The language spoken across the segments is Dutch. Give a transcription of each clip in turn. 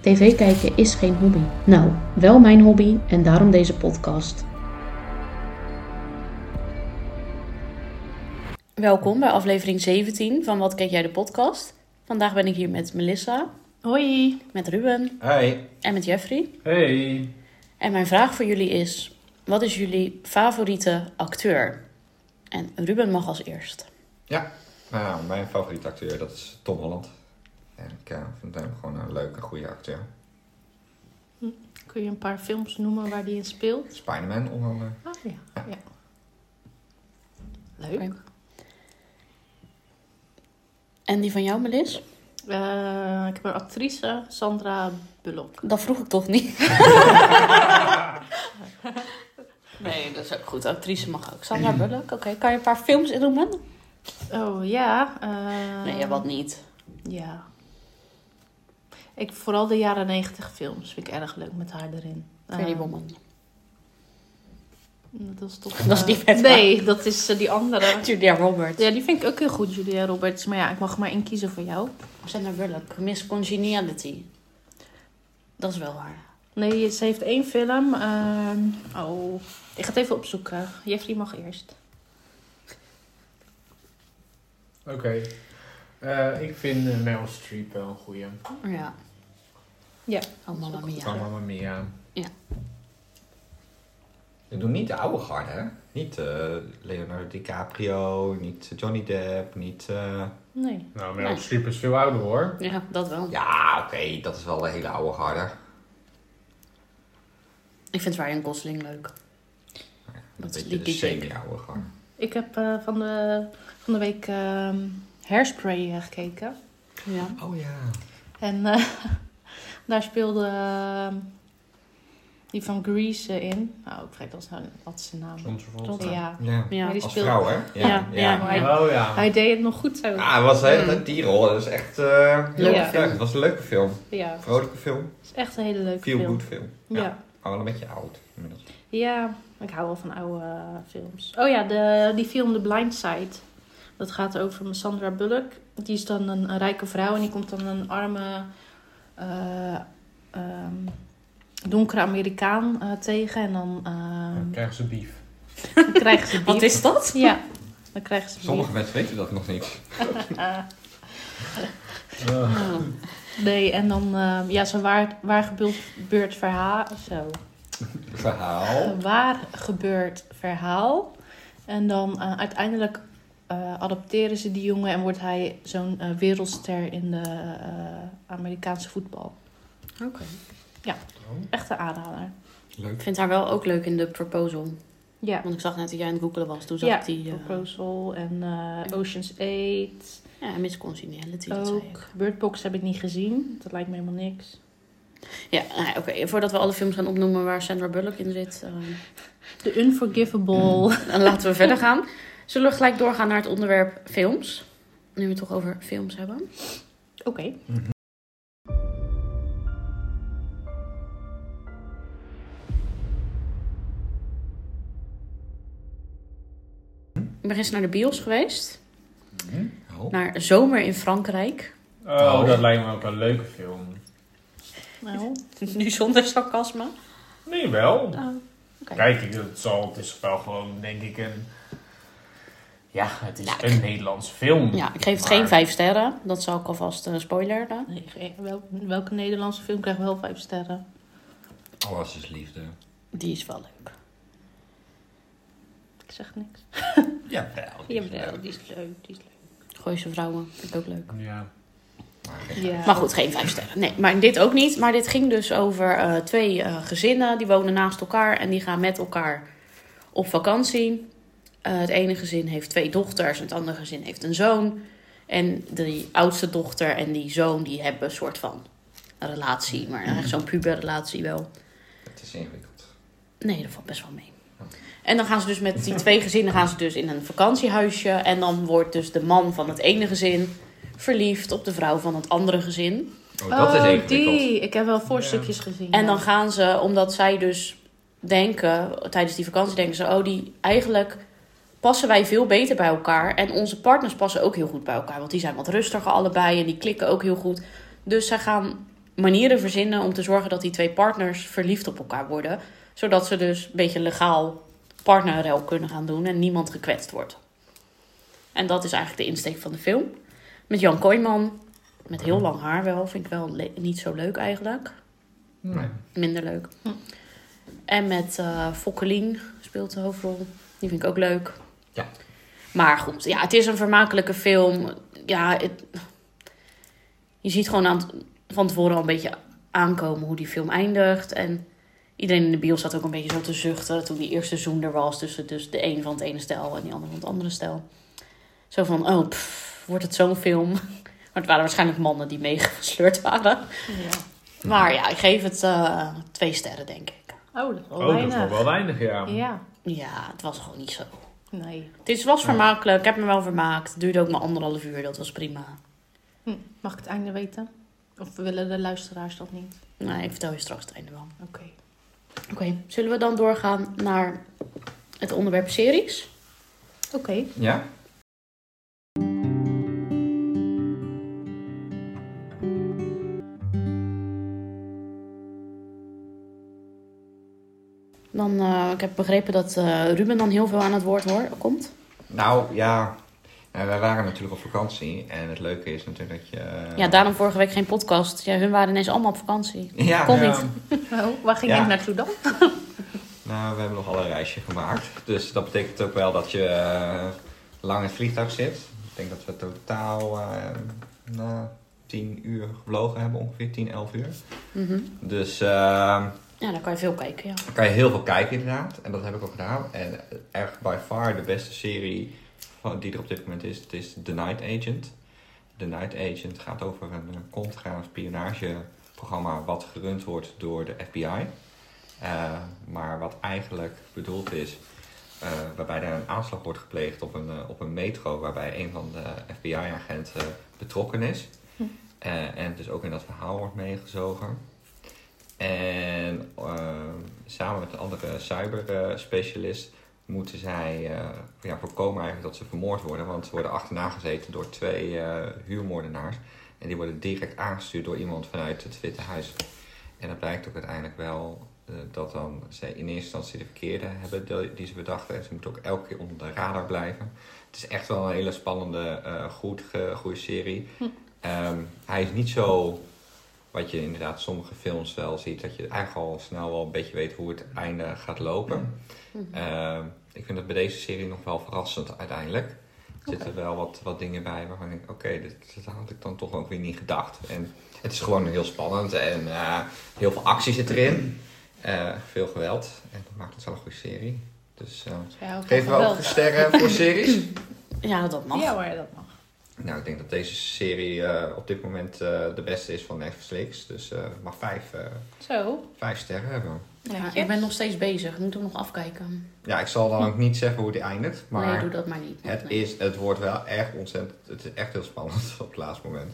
TV kijken is geen hobby. Nou, wel mijn hobby en daarom deze podcast. Welkom bij aflevering 17 van Wat Kijk Jij de Podcast. Vandaag ben ik hier met Melissa, Hoi. met Ruben Hi. en met Jeffrey. Hey. En mijn vraag voor jullie is: wat is jullie favoriete acteur? En Ruben mag als eerst. Ja, nou, mijn favoriete acteur dat is Tom Holland. En ik eh, vind hem gewoon een leuke, goede acteur. Kun je een paar films noemen waar die in speelt? Spider-Man onder andere. Ah ja. ja. Leuk. Oké. En die van jou, Melis? Eh, ik heb een actrice, Sandra Bullock. Dat vroeg ik toch niet? nee, dat is ook goed. Actrice mag ook. Sandra Bullock. Oké, kan je een paar films Eh, innoemen? Oh ja. eh, Nee, ja, wat niet. Ja. Ik, vooral de jaren negentig films vind ik erg leuk met haar erin. Pretty Eh, Woman. Dat is toch... Dat is eh, niet met Nee, dat is eh, die andere. Julia Roberts. Ja, die vind ik ook heel goed, Julia Roberts. Maar ja, ik mag er maar één kiezen voor jou. Sandra Bullock. Miss Congeniality. Dat is wel haar. Nee, ze heeft één film. ehm, oh, ik ga het even opzoeken. Jeffrey mag eerst. Oké. Eh, ik vind eh, Meryl Streep wel een goeie. Ja. Ja. Oh, mamma mia. Van Mamma Mia. Ik doe niet de oude garde, hè? Niet eh, Leonardo DiCaprio, niet eh, Johnny Depp, niet... eh, Nee. Nou, Meryl Nee. Streep is veel ouder hoor. Ja, dat wel. Ja, oké, dat is wel de hele oude garde. Ik vind Ryan Gosling leuk. Een Dat is beetje de Leaky Jake. semi-oude garde. Ik heb eh, van, de, van de week ehm, Hairspray eh, gekeken. Ja. Oh ja. En eh, daar speelde ehm, die van Grease eh, in. Nou, ik vergeet al snel wat zijn naam. Ah. Soms is. vervolgens. Ja. Ja. Ja. Die Als speelt- vrouw, hè? Ja, ja, maar- Oh ja. Hij deed het nog goed zo. Ah, het was heel, die rol is echt eh heel Leuke erg leuk. film. Het was een leuke film. Ja, Een het vrolijke film. is echt een hele leuke Feel film. good film. Ja. Ja. Maar wel een beetje oud inmiddels. Ja, ik hou wel van oude eh, films. Oh ja, de, die film The Blind Side. Dat gaat over Sandra Bullock. Die is dan een, een rijke vrouw en die komt dan een arme, eh, ehm, donkere Amerikaan eh, tegen. En dan Dan ehm, krijgen ze beef. krijgen ze Wat bier. is dat? Ja, dan krijgen ze Sommige mensen weten dat nog niet. bier. Eh, Oh. nee, en dan... ehm, ja, zo'n waar, waar gebeurd verhaal... Zo. Verhaal. Een waar gebeurd verhaal. En dan eh, uiteindelijk eh, adopteren ze die jongen en wordt hij zo'n eh, wereldster in de eh, Amerikaanse voetbal. Oké. Echt een aanrader. Ik Leuk. vind haar wel ook leuk in de proposal. Ja. Want ik zag net dat jij aan het googelen was. Toen zag Ja, ik die... eh, Proposal en eh, Ocean's 8. ja, Miss Congeniality, dat zei Ook ik. Bird Box heb ik niet gezien. Dat lijkt me helemaal niks. Ja, nou ja, oké. Voordat we alle films gaan opnoemen waar Sandra Bullock in zit... eh, The Unforgivable. dan laten we verder gaan. Zullen we gelijk doorgaan naar het onderwerp films? Nu we het toch over films hebben. Oké. Mhm. Ik ben gisteren naar de bios geweest. Oh. Naar Zomer in Frankrijk. Oh, dat lijkt me ook een leuke film. Nou, nu zonder sarcasme. Nee, wel. Oh, oké. Kijk, ik- het, zal, het is wel gewoon, denk ik, een... Ja, het is Ja, een Nederlands film. Nou, Ja, ik geef het Maar- geen vijf sterren. Dat zal ik alvast eh, spoileren. nee, ge- wel- welke Nederlandse film krijgt wel vijf sterren? Oh, Alles is liefde. Die is wel leuk. Ik zeg niks. Jawel. die is Jawel, leuk. die is leuk. Die is leuk. Gooise vrouwen, vind ik ook leuk. Ja. Maar geen- Ja. Maar goed, geen vijf sterren. Nee, maar dit ook niet. Maar dit ging dus over eh, twee eh, gezinnen. Die wonen naast elkaar en die gaan met elkaar op vakantie. Eh, het ene gezin heeft twee dochters en het andere gezin heeft een zoon. En die oudste dochter en die zoon die hebben een soort van relatie. Maar echt zo'n puberrelatie wel. Het is ingewikkeld. Nee, dat valt best wel mee. En dan gaan ze dus met die twee gezinnen gaan ze dus in een vakantiehuisje. En dan wordt dus de man van het ene gezin verliefd op de vrouw van het andere gezin. Oh, dat is ingewikkeld. die. Ik heb wel voorstukjes gezien. En ja. dan gaan ze, omdat zij dus denken, tijdens die vakantie denken ze, oh, die eigenlijk passen wij veel beter bij elkaar. En onze partners passen ook heel goed bij elkaar. Want die zijn wat rustiger allebei en die klikken ook heel goed. Dus zij gaan manieren verzinnen om te zorgen dat die twee partners verliefd op elkaar worden. Zodat ze dus een beetje legaal partnerrel kunnen gaan doen en niemand gekwetst wordt. En dat is eigenlijk de insteek van de film. Met Jan Kooijman, met heel lang haar wel, vind ik wel le- niet zo leuk eigenlijk Nee. minder leuk. Hm. En met eh Fokkelien speelt de hoofdrol. Die vind ik ook leuk. Ja. Maar goed, ja, het is een vermakelijke film. Ja, het- je ziet gewoon aan het- van tevoren al een beetje aankomen hoe die film eindigt. En iedereen in de bios zat ook een beetje zo te zuchten toen die eerste zoen er was. Tussen dus de een van het ene stel en die ander van het andere stel. Zo van, oh, pff, wordt het zo'n film? Maar het waren waarschijnlijk mannen die meegesleurd waren. Ja. Maar ja, ik geef het eh, twee sterren, denk ik. Oh, dat is wel Oh, dat is nog weinig. wel weinig, ja. Ja, Ja, het was gewoon niet zo. nee. Dit was vermakelijk, ik heb me wel vermaakt. Het duurde ook maar anderhalf uur, dat was prima. Hm. Mag ik het einde weten? Of willen de luisteraars dat niet? Nee, ik vertel je straks het einde wel. Oké. Oké, zullen we dan doorgaan naar het onderwerp series? Oké. Ja? Dan, eh, ik heb begrepen dat eh, Ruben dan heel veel aan het woord hoor, komt. Nou, ja. Nou, wij waren natuurlijk op vakantie. En het leuke is natuurlijk dat je... eh, Ja, daarom vorige week geen podcast. Ja, hun waren ineens allemaal op vakantie. Ja, Kon ja. niet. Oh, waar ging Ja. ik naartoe dan? Nou, we hebben nogal een reisje gemaakt. Dus dat betekent ook wel dat je eh, lang in het vliegtuig zit. Ik denk dat we totaal eh na 10 uur gevlogen hebben, ongeveer 10, 11 uur. Mhm. Dus eh, Ja, daar kan je veel kijken, ja. dan kan je heel veel kijken inderdaad. En dat heb ik ook gedaan. En echt by far de beste serie van, die er op dit moment is, het is The Night Agent. The Night Agent gaat over een eh, contra-spionageprogramma wat gerund wordt door de FBI. Eh, maar wat eigenlijk bedoeld is, eh, waarbij er een aanslag wordt gepleegd op een, eh, op een metro waarbij een van de FBI-agenten betrokken is. Eh, en dus ook in dat verhaal wordt meegezogen. En eh, samen met een andere cyberspecialist moeten zij eh, ja, voorkomen eigenlijk dat ze vermoord worden. Want ze worden achterna gezeten door twee eh, huurmoordenaars. En die worden direct aangestuurd door iemand vanuit het Witte Huis. En dat blijkt ook uiteindelijk wel eh, dat dan ze in eerste instantie de verkeerde hebben die, die ze bedachten. En ze moeten ook elke keer onder de radar blijven. Het is echt wel een hele spannende, eh, goed, ge- goede serie. Ehm, hij is niet zo wat je inderdaad sommige films wel ziet, dat je eigenlijk al snel wel een beetje weet hoe het einde gaat lopen. Ehm, ik vind het bij deze serie nog wel verrassend uiteindelijk. Er zitten wel wat, wat dingen bij waarvan ik denk, oké, dit, dit had ik dan toch ook weer niet gedacht. En het is gewoon heel spannend en eh, heel veel actie zit erin. Eh, veel geweld. En dat maakt het wel een goede serie. Dus eh, Ja, geven we ook sterren voor series? Ja, dat mag. Ja hoor, dat mag. Nou, ik denk dat deze serie eh, op dit moment eh, de beste is van Netflix. Dus eh mag vijf, eh, Zo. vijf sterren hebben. Ja, ik ben nog steeds bezig, ik moet hem nog afkijken. Ja, ik zal dan ook niet zeggen hoe die eindigt. Nee, Maar doe dat maar niet. het, Nee. is, het wordt wel echt ontzettend... Het is echt heel spannend op het laatste moment.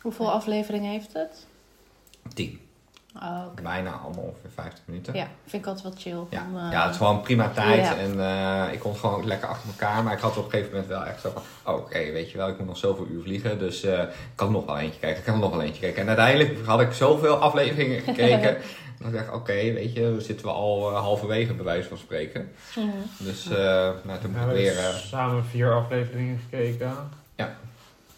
Hoeveel afleveringen heeft het? Tien. Oh, oké. Bijna allemaal ongeveer 50 minuten. Ja, vind ik altijd wel chill. Ja, Om, eh, ja, het is gewoon prima tijd. Ja. En eh, ik kon gewoon lekker achter elkaar. Maar ik had op een gegeven moment wel echt zo van... oh, Oké, weet je wel, ik moet nog zoveel uur vliegen. Dus eh, ik kan nog wel eentje kijken. Ik kan nog wel eentje kijken. En uiteindelijk had ik zoveel afleveringen gekeken. dat ik dacht, oké, weet je, we zitten we al eh, halverwege bij wijze van spreken. mhm. Dus eh nou, toen We moet ik hebben weer... eh, dus samen vier afleveringen gekeken. Ja.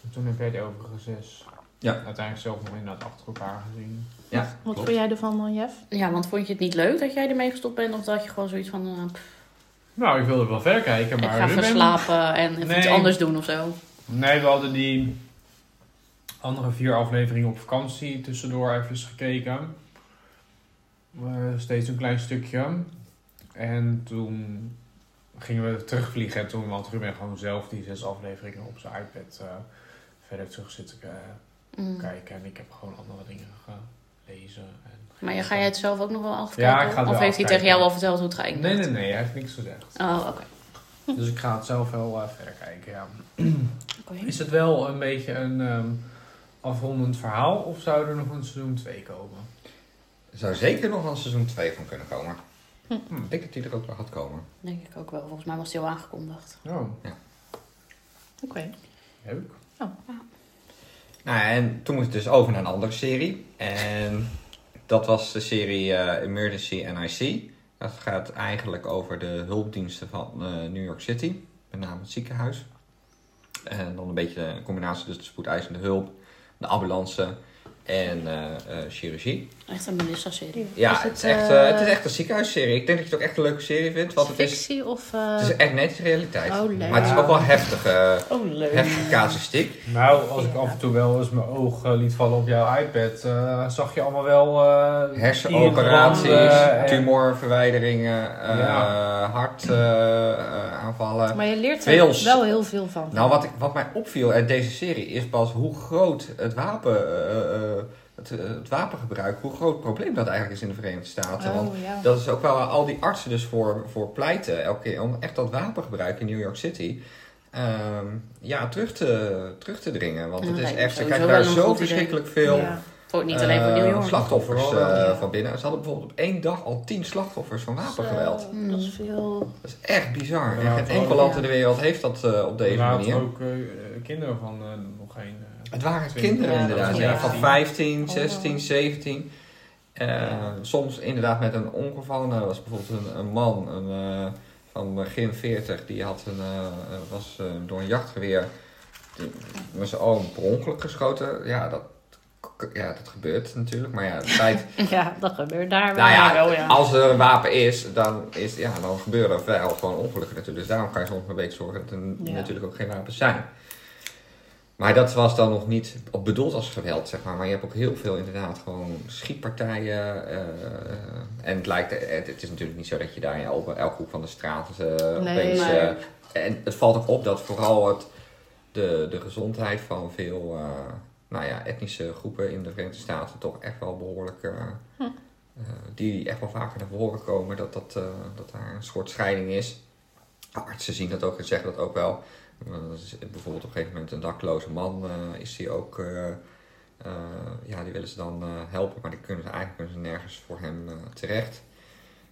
En toen heb jij de overige zes. Ja. Uiteindelijk zelf nog inderdaad achter elkaar gezien. ja, Wat klopt. vond jij ervan dan, Jeff? Ja, want vond je het niet leuk dat jij ermee gestopt bent? Of dat je gewoon zoiets van, eh, pff, Nou, ik wilde wel ver kijken, ik maar... ga Ruben- verslapen en even iets Nee. anders doen of zo? Nee, we hadden die andere vier afleveringen op vakantie tussendoor even eens gekeken. Eh, steeds een klein stukje. En toen gingen we terugvliegen. En toen, want Ruben gewoon zelf die zes afleveringen op zijn iPad eh, verder terug zitten eh, Mm. kijken. En ik heb gewoon andere dingen ge- lezen. En... Maar ja, ga jij het zelf ook nog wel afkijken? Ja, ik ga het wel of heeft hij afkijken. tegen jou al verteld hoe het geëindigd Nee, nee, nee, hij heeft niks gezegd. Oh, oké. Dus ik ga het zelf wel eh, verder kijken, ja. Oké. Is het wel een beetje een ehm, afrondend verhaal of zou er nog een seizoen 2 komen? Er zou zeker nog een seizoen 2 van kunnen komen. Hmm. Ik denk dat die er ook wel gaat komen. Denk ik ook wel. Volgens mij was hij al aangekondigd. Oh, Oké. leuk. Nou, en toen moest het dus over naar een andere serie. En dat was de serie eh, Emergency NIC. Dat gaat eigenlijk over de hulpdiensten van eh, New York City. Met name het ziekenhuis. En dan een beetje een combinatie tussen de spoedeisende hulp, de ambulance en eh, eh, chirurgie. Echt een Melissa-serie. Ja, Is het, het, is echt, eh, eh, het is echt een ziekenhuisserie. Ik denk dat je het ook echt een leuke serie vindt. Want het is, Fictie of... eh, het is echt net de realiteit. Oh, leuk. Maar het is ook wel heftige, Oh, leuk. heftige casuïstiek. Nou, als ik af en toe wel eens mijn oog eh, liet vallen op jouw iPad, eh, zag je allemaal wel... eh, Hersenoperaties, branden en- tumorverwijderingen, eh Ja. hartaanvallen. Maar je leert er Veel s- wel heel veel van. nou, wat, ik, wat mij opviel uit deze serie is pas hoe groot het wapen. eh, eh, het, het wapengebruik, hoe groot het probleem dat eigenlijk is in de Verenigde Staten. Want Oh, ja. dat is ook wel waar al die artsen dus voor, voor pleiten elke keer. Om echt dat wapengebruik in New York City ehm, ja, terug, te, terug te dringen. Want Ja, het is lijkt me echt, ze sowieso krijgen daar wel een zo goed idee. verschrikkelijk veel Ja. Voor, niet alleen voor eh, New York. slachtoffers eh, Vooral, ja. van binnen. Ze hadden bijvoorbeeld op één dag al tien slachtoffers van wapengeweld. Oh, Zo, Dat is veel. Dat is echt bizar. Ja, en geen het enkel was- land in de wereld heeft dat eh, op Er deze waren manier. Dus- ook eh, eh, kinderen van eh, nog geen... eh, Het waren Twintig. kinderen Ja, inderdaad. dat Ja, was- van ja. 15, Oh. 16, 17. Eh, Soms inderdaad met een ongeval. Nou, er was bijvoorbeeld een, een man een, eh, van begin 40. Die had een, eh, eh, was eh, door een jachtgeweer die- met zijn oom per ongeluk geschoten. Ja, dat, ja, dat gebeurt natuurlijk. Maar ja, het feit Ja, dat gebeurt daar wel. Nou ja, wel, ja. als er een wapen is, dan, is, ja, dan gebeuren er wel gewoon ongelukken natuurlijk. Dus daarom kan je soms een beetje zorgen dat er n- Ja. natuurlijk ook geen wapens zijn. Maar dat was dan nog niet op bedoeld als geweld, zeg maar. Maar je hebt ook heel veel inderdaad gewoon schietpartijen. eh, en het, lijkt, eh, het, het is natuurlijk niet zo dat je daar in elke, elke hoek van de straat eh opeens... nee. eh, en het valt ook op dat vooral het, de, de gezondheid van veel eh, nou ja, etnische groepen in de Verenigde Staten toch echt wel behoorlijk... eh, eh, die echt wel vaker naar voren komen, dat, dat, eh, dat daar een soort scheiding is. Nou, Artsen zien dat ook en zeggen dat ook wel. Eh, z- bijvoorbeeld op een gegeven moment een dakloze man eh, is die ook, eh, eh, ja, die willen ze dan eh, helpen, maar die kunnen ze eigenlijk kunnen ze nergens voor hem eh, terecht.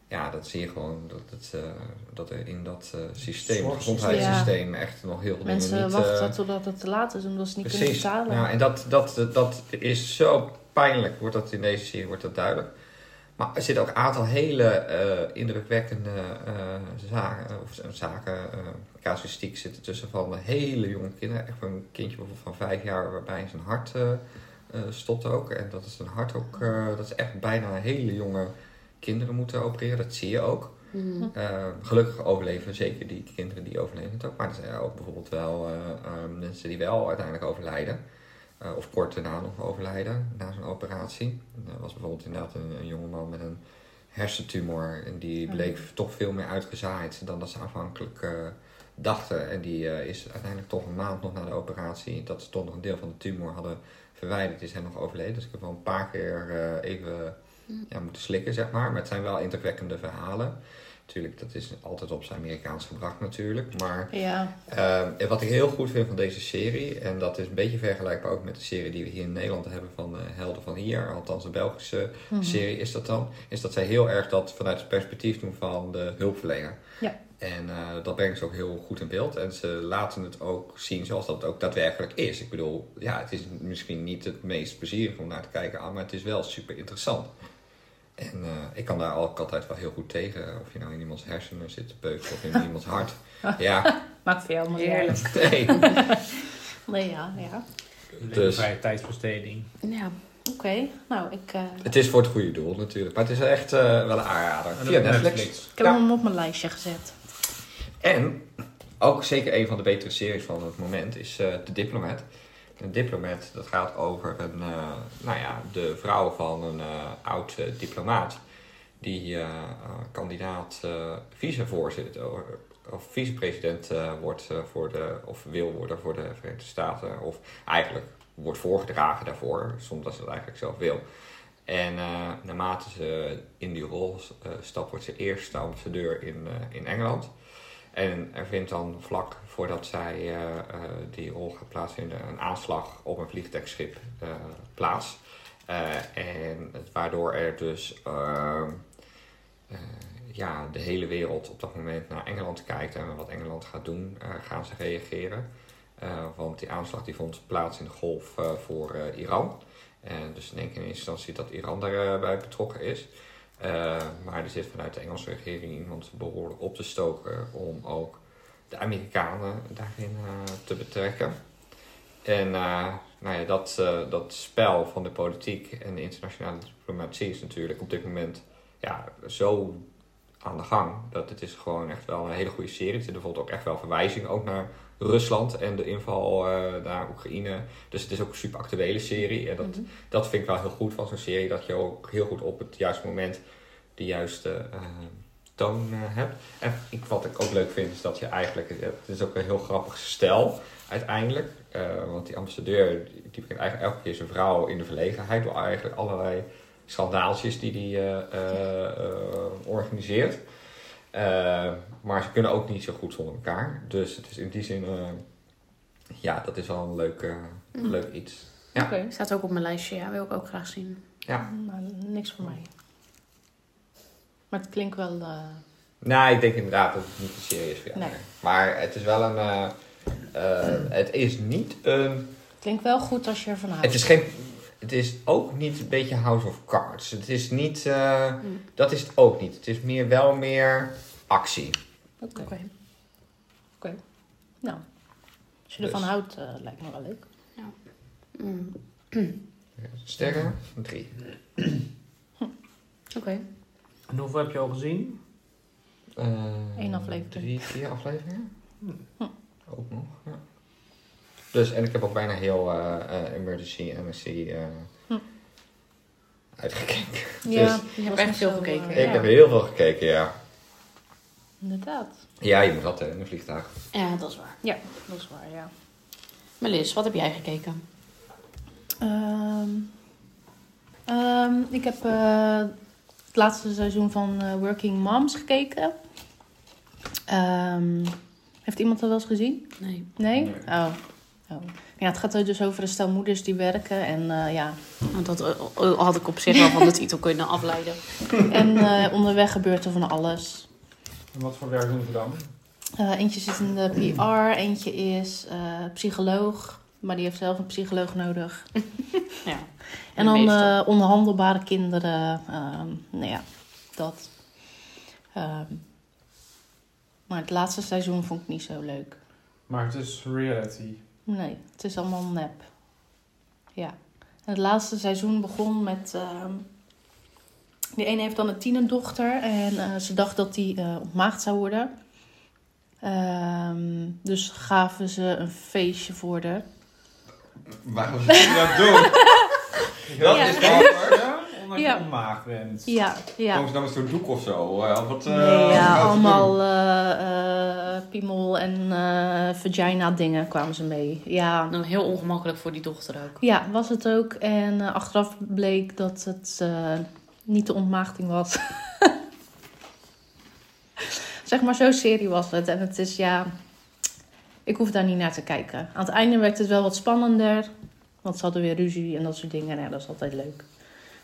Ja, dat zie je gewoon, dat, het, eh, dat er in dat eh, systeem, het Zorgsysteem. gezondheidssysteem, echt nog heel veel Mensen dingen niet... eh, wachten totdat het te laat is omdat ze niet kunnen betalen. ja, en dat, dat, dat, dat is zo pijnlijk, wordt dat in deze serie wordt dat duidelijk. Maar er zitten ook een aantal hele eh, indrukwekkende eh, zaken, of z- zaken eh, casuïstiek zitten tussen van de hele jonge kinderen. Echt een kindje bijvoorbeeld van vijf jaar waarbij zijn hart eh eh, stopt ook. En dat is een hart ook, eh, dat is echt bijna hele jonge kinderen moeten opereren. Dat zie je ook. Mm. Eh, gelukkig overleven zeker die kinderen die overleven het ook. Maar er zijn ook bijvoorbeeld wel eh, eh, mensen die wel uiteindelijk overlijden. Eh, of kort daarna nog overlijden na zo'n operatie. En Er was bijvoorbeeld inderdaad een, een jongeman met een hersentumor. En die bleek toch veel meer uitgezaaid dan dat ze aanvankelijk eh, dachten. En die eh, is uiteindelijk toch een maand nog na de operatie, dat ze toch nog een deel van de tumor hadden verwijderd, is hij nog overleden. Dus ik heb wel een paar keer eh, even ja, moeten slikken, zeg maar. Maar het zijn wel indrukwekkende verhalen. Natuurlijk, dat is altijd op zijn Amerikaans gebracht natuurlijk. Maar Ja, ehm, en wat ik heel goed vind van deze serie, en dat is een beetje vergelijkbaar ook met de serie die we hier in Nederland hebben van eh, Helden van Hier, althans de Belgische serie is dat dan, is dat zij heel erg dat vanuit het perspectief doen van de hulpverlener. Ja. En eh, dat brengen ze ook heel goed in beeld. En ze laten het ook zien zoals dat ook daadwerkelijk is. Ik bedoel, ja, het is misschien niet het meest plezierig om naar te kijken aan, maar het is wel super interessant. En eh, ik kan daar ook altijd wel heel goed tegen. Of je nou in iemands hersenen zit te beuken of in iemands hart. Ja, maakt voor jou helemaal niet Heerlijk. uit. nee. Nee, ja, ja. Dus- Vrije tijdsbesteding. Ja. Oké, nou, ik, eh, Het is voor het goede doel natuurlijk. Maar het is echt eh, wel een aanrader. Via Netflix. ik heb Ja. hem op mijn lijstje gezet. En ook zeker een van de betere series van het moment is eh The Diplomat. Een diplomat, dat gaat over een, eh, nou ja, de vrouw van een eh, oud eh, diplomaat. Die eh, eh, kandidaat eh, vicevoorzitter of- of vicepresident eh, wordt eh, voor de, of wil worden voor de Verenigde Staten. Of eigenlijk wordt voorgedragen daarvoor, zonder dat ze dat eigenlijk zelf wil. En eh, naarmate ze in die rol eh, stapt, wordt ze eerste ambassadeur in, eh, in Engeland. En er vindt dan vlak voordat zij eh, eh, die rol gaat plaatsvinden, een aanslag op een vliegtuigschip eh, plaats. Eh, en het- waardoor er dus ehm, eh, ja, de hele wereld op dat moment naar Engeland kijkt en wat Engeland gaat doen, eh, gaan ze reageren. Eh, want die aanslag die vond plaats in de golf eh, voor eh, Iran. En dus in één keer in eerste instantie dat Iran daarbij betrokken is. Eh, maar er zit vanuit de Engelse regering iemand behoorlijk op te stoken om ook de Amerikanen daarin eh, te betrekken. En eh, nou ja, dat, eh, dat spel van de politiek en de internationale diplomatie is natuurlijk op dit moment ja, zo aan de gang. Dat het is gewoon echt wel een hele goede serie. Er zit bijvoorbeeld ook echt wel verwijzing ook naar Rusland en de inval eh, naar Oekraïne. Dus het is ook een super actuele serie. En dat, Mhm. dat vind ik wel heel goed van zo'n serie. Dat je ook heel goed op het juiste moment de juiste eh, toon eh, hebt. En ik, wat ik ook leuk vind is dat je eigenlijk... eh, Het is ook een heel grappig stijl uiteindelijk. Eh, want die ambassadeur die- die brengt eigenlijk elke keer zijn vrouw in de verlegenheid. Door eigenlijk allerlei schandaaltjes die die eh, eh, eh, organiseert. Eh, maar ze kunnen ook niet zo goed zonder elkaar. Dus het is in die zin... eh, ja, dat is wel een leuk, eh, Mm. leuk iets. Oké. Staat ook op mijn lijstje, ja. Wil ik ook graag zien. Ja. Maar niks voor mij. Maar het klinkt wel... eh, Nou, ik denk inderdaad dat het niet te serieus is. Nee. Maar het is wel een. eh, eh, het is niet een. het klinkt wel goed als je ervan houdt. Het is geen. Het is ook niet een beetje House of Cards. Het is niet. eh, Hm. Mm. Dat is het ook niet. Het is meer, wel meer actie. Oké. Oké. Oké. Nou, als je ervan Dus. houdt, eh, lijkt me wel leuk. Mm. Sterren? Een Drie. Oké. En hoeveel heb je al gezien? Eén Eén aflevering. Eh, Drie, vier afleveringen. Hm. Ook nog. Ja. Dus, en ik heb ook bijna heel eh, eh, Emergency MSC eh Hm. uitgekeken. Ja, je hebt echt veel gekeken. Dus. eh, Ik heb heel veel gekeken, ja. Inderdaad. Ja, je moet dat hè, in een vliegtuig. Ja, dat is waar. Ja, dat is waar, ja. Melis, wat heb jij gekeken? Ehm, ehm, ik heb eh, het laatste seizoen van eh, Working Moms gekeken. Ehm, heeft iemand dat wel eens gezien? Nee. Nee? Nee. Oh. oh. Ja, het gaat dus over een stel moeders die werken. En, eh, ja. Want dat eh, eh, had ik op zich wel van de titel kunnen afleiden. en eh, onderweg gebeurt er van alles. En wat voor werk doen ze dan? Eh, eentje zit in de PR, eentje is eh, psycholoog. Maar die heeft zelf een psycholoog nodig. Ja. En dan meestal. eh, onhandelbare kinderen. ehm, nou ja, dat. Ehm, maar het laatste seizoen vond ik niet zo leuk. Maar het is reality. Nee, het is allemaal nep. Ja. En het laatste seizoen begon met. ehm, die ene heeft dan een tienerdochter en eh, ze dacht dat die eh, ontmaagd zou worden. Ehm, dus gaven ze een feestje voor de. Waarom zou je dat doen? Dat Ja. is grappig. Omdat Ja. je onmaagd bent. Ja, ja. Komen ze dan nou met zo'n doek of zo? eh, Of wat, eh, Nee, wat gaan ja, ze doen? allemaal eh, eh, piemel en eh, vagina dingen kwamen ze mee. Ja, Dan heel ongemakkelijk voor die dochter ook. ja was het ook. En eh, achteraf bleek dat het eh, niet de ontmaagding was. zeg maar, zo serie was het. En het is, ja... Ik hoef daar niet naar te kijken. Aan het einde werd het wel wat spannender. Want ze hadden weer ruzie en dat soort dingen. Nou Ja, dat is altijd leuk.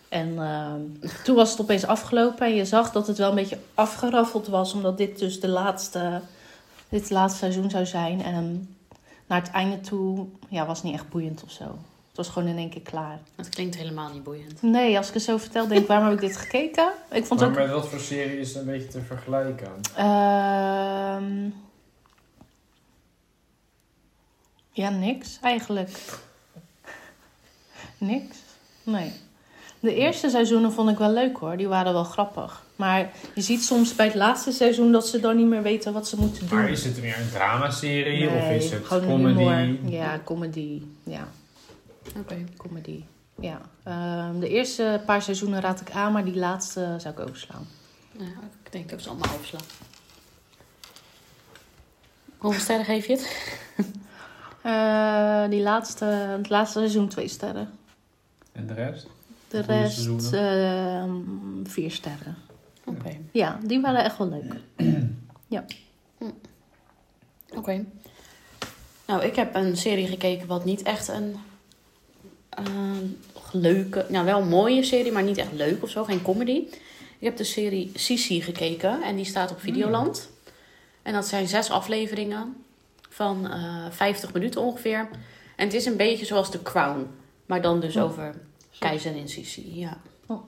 En ehm, toen was het opeens afgelopen. En je zag dat het wel een beetje afgeraffeld was. Omdat dit dus de laatste, dit laatste seizoen zou zijn. En ehm, naar het einde toe ja, was het niet echt boeiend of zo. Het was gewoon in één keer klaar. Dat klinkt helemaal niet boeiend. Nee, als ik het zo vertel, denk ik, waarom heb ik dit gekeken? Ik vond het Maar ook... met wat voor serie is het een beetje te vergelijken? Ehm, ja, niks eigenlijk. niks? Nee. De eerste seizoenen vond ik wel leuk hoor. Die waren wel grappig. Maar je ziet soms bij het laatste seizoen dat ze dan niet meer weten wat ze moeten doen. Maar is het meer een dramaserie Nee, of is het gewoon comedy? humor. Ja, comedy. Ja, Oké. comedy. Ja. Ehm, de eerste paar seizoenen raad ik aan, maar die laatste zou ik overslaan. Ja, ik denk dat ik ze allemaal overslaan. Hoeveel sterren geef je het? Eh, die laatste, het laatste seizoen twee sterren. En de rest? De Goeie rest, seizoenen. ehm, vier sterren. Oké. Ja, die waren echt wel leuk. Oké. Nou, ik heb een serie gekeken wat niet echt een ehm, leuke, nou wel een mooie serie, maar niet echt leuk of zo, geen comedy. Ik heb de serie Sisi gekeken en die staat op Videoland. En dat zijn zes afleveringen van eh 50 minuten ongeveer. En het is een beetje zoals The Crown, maar dan dus Oh. over keizerin Sisi, ja. Oh.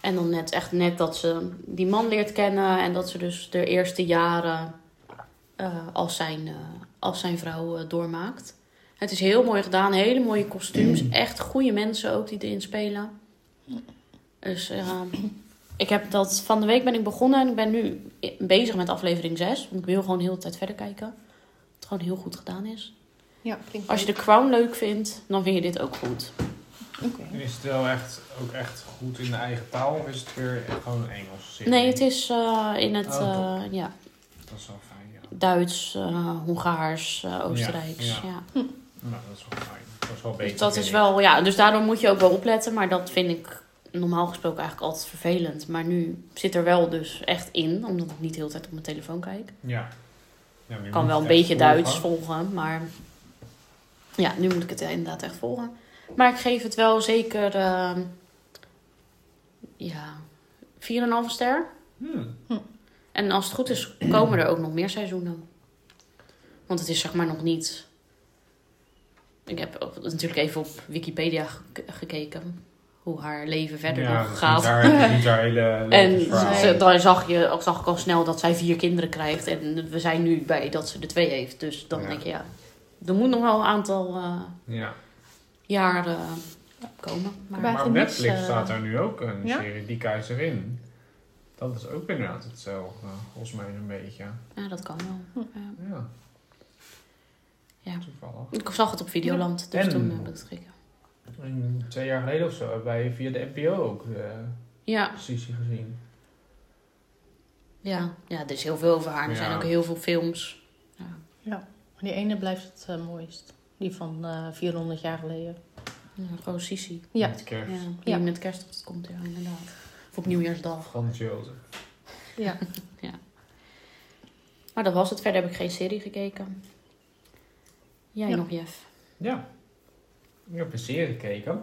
En dan net echt net dat ze die man leert kennen en dat ze dus de eerste jaren eh, als, zijn, eh, als zijn vrouw eh, doormaakt. Het is heel mooi gedaan, hele mooie kostuums. Echt goede mensen ook die erin spelen. Dus eh, ik heb dat van de week ben ik begonnen en ik ben nu i- bezig met aflevering 6. Want ik wil gewoon heel de tijd verder kijken. Het gewoon heel goed gedaan is. Ja, klinkt Als je de leuk. Crown leuk vindt, dan vind je dit ook goed. Oké. En is het wel echt, ook echt goed in de eigen taal of is het weer echt gewoon een Engelse serie? Nee, het is eh, in het Oh, top. eh, ja, Dat is wel fijn, ja. Duits, eh, Hongaars, eh, Oostenrijks. ja. ja. Nou, dat is wel fijn. Dat is wel beter. Dus dat vind is ik. wel, ja, dus daardoor moet je ook wel opletten. Maar dat vind ik normaal gesproken eigenlijk altijd vervelend. Maar nu zit er wel dus echt in, omdat ik niet de hele tijd op mijn telefoon kijk. Ja. Ja, maar je Ik kan moet wel een het beetje echt volgen. Duits volgen, maar ja, nu moet ik het eh, inderdaad echt volgen. Maar ik geef het wel zeker, eh, ja, 4,5 ster. Hmm. En als het goed is, komen er ook nog meer seizoenen. Want het is zeg maar nog niet. Ik heb ook natuurlijk even op Wikipedia ge- gekeken hoe haar leven verder ja, nog gaat. gaat. Daar is niet haar hele En leuke verhaal. ze- dan zag, je, ook zag ik al snel dat zij vier kinderen krijgt. En we zijn nu bij dat ze er twee heeft. Dus dan Ja. denk je, ja, er moet nog wel een aantal eh, Ja. jaar eh, komen. Maar, Maar- Maar op Eigenlijk niks, Netflix eh, staat daar nu ook een ja? serie, Die Keizerin. Dat is ook inderdaad hetzelfde, volgens mij een beetje. ja, dat kan wel. Ja. Ja. Ja. Toevallig. Ik zag het op Videoland, dus En- toen heb ik het gekeken. En twee jaar geleden of zo hebben wij via de NPO ook de Ah. Ja, Sisi gezien. Ja, ja er is heel veel over haar. Er Ja. zijn ook heel veel films. Die ene blijft het eh, mooist. Die van eh 400 jaar geleden. Ja, gewoon Sisi. Ja. Met Ja, kerst. die Ja. met kerst op het komt, ja, inderdaad. Of op Nieuwjaarsdag. Frans Jozef. Ja. Maar dat was het. Verder heb ik geen serie gekeken. Jij Ja. nog, Jeff? Ja. Ik heb een serie gekeken.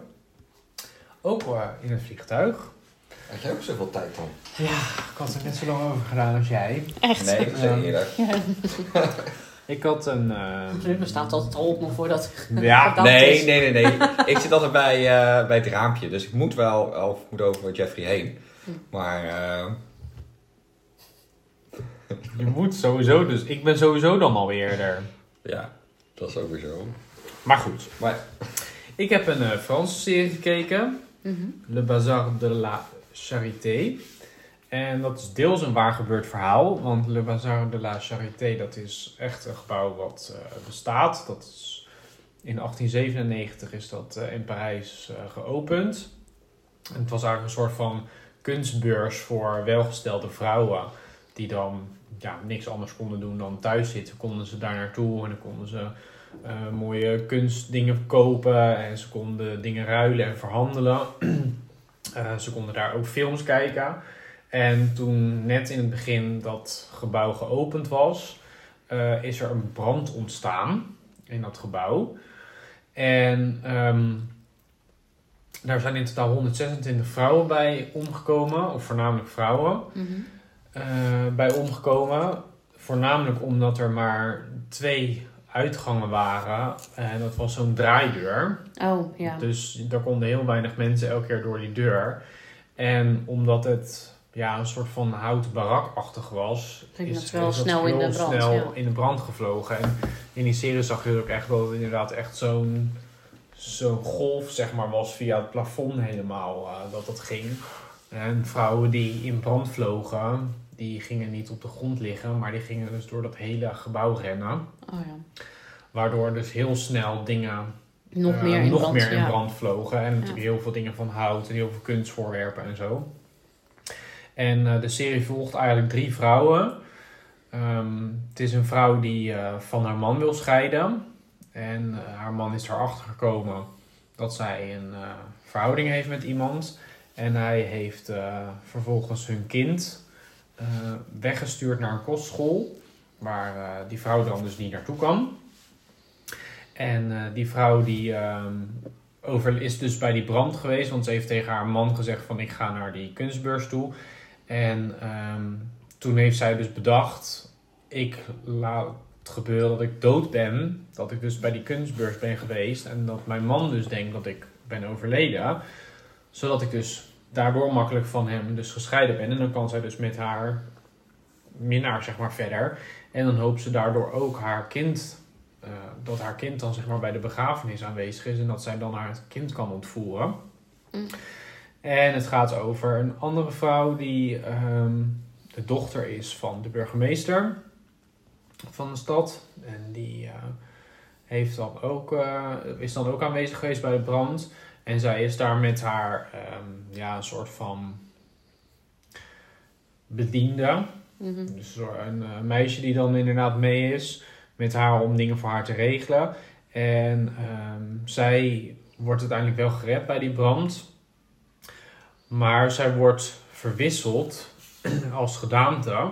Ook eh, in een vliegtuig. Had jij ook zoveel tijd dan? Ja, ik had er net zo lang over gedaan als jij. Echt? Nee, ik zei eerder. Ik had een... eh, Mijn me staat altijd al op nog voordat... Ja, Dat nee, is- nee, nee, nee. ik zit altijd bij, eh, bij het raampje, dus ik moet wel of ik moet over Jeffrey heen. Hm. Maar eh, je moet sowieso dus. Ik ben sowieso dan alweer eerder. ja, dat is ook weer zo. Maar goed. Maar Ik heb een eh, Franse serie gekeken. Mhm. Le Bazar de la Charité. En dat is deels een waar gebeurd verhaal. Want Le Bazar de la Charité, dat is echt een gebouw wat eh, bestaat. Dat is, in 1897 is dat eh, in Parijs eh, geopend. En het was eigenlijk een soort van kunstbeurs voor welgestelde vrouwen. Die dan ja, niks anders konden doen dan thuis zitten. Konden ze daar naartoe en dan konden ze eh, mooie kunstdingen kopen. En ze konden dingen ruilen en verhandelen. Eh, ze konden daar ook films kijken. En toen net in het begin dat gebouw geopend was, eh, is er een brand ontstaan in dat gebouw. En ehm, daar zijn in totaal 126 vrouwen bij omgekomen, of voornamelijk vrouwen Mhm. eh, bij omgekomen. Voornamelijk omdat er maar twee uitgangen waren. En dat was zo'n draaideur. Oh, ja. Dus daar konden heel weinig mensen elke keer door die deur. En omdat het ja, een soort van houten barakachtig was, Ging dat wel snel in de brand, snel ja. in de brand gevlogen. En in die serie zag je ook echt wel dat het inderdaad echt zo'n zo'n golf zeg maar, was via het plafond helemaal eh, dat dat ging. En vrouwen die in brand vlogen, die gingen niet op de grond liggen, maar die gingen dus door dat hele gebouw rennen. Oh, ja. Waardoor dus heel snel dingen Nog eh, meer in nog brand. meer in ja. brand vlogen. En natuurlijk Ja. heel veel dingen van hout en heel veel kunstvoorwerpen en zo. En eh, de serie volgt eigenlijk drie vrouwen. Ehm, het is een vrouw die eh, van haar man wil scheiden. En eh, haar man is erachter gekomen dat zij een eh, verhouding heeft met iemand. En hij heeft eh, vervolgens hun kind eh, weggestuurd naar een kostschool. Waar eh, die vrouw dan dus niet naartoe kan. En eh, die vrouw die, ehm, over, is dus bij die brand geweest. Want ze heeft tegen haar man gezegd van ik ga naar die kunstbeurs toe. En ehm, toen heeft zij dus bedacht... Ik laat het gebeuren dat ik dood ben. Dat ik dus bij die kunstbeurs ben geweest. En dat mijn man dus denkt dat ik ben overleden. Zodat ik dus daardoor makkelijk van hem dus gescheiden ben. En dan kan zij dus met haar minnaar zeg maar verder. En dan hoopt ze daardoor ook haar kind... eh, dat haar kind dan zeg maar bij de begrafenis aanwezig is. En dat zij dan haar kind kan ontvoeren. Mm. En het gaat over een andere vrouw die... ehm, de dochter is van de burgemeester van de stad. En die eh, heeft dan ook, eh, is dan ook aanwezig geweest bij de brand. En zij is daar met haar ehm, ja, een soort van bediende. Mhm. Dus zo- een eh, meisje die dan inderdaad mee is met haar om dingen voor haar te regelen. En ehm, zij wordt uiteindelijk wel gered bij die brand. Maar zij wordt verwisseld als gedaante.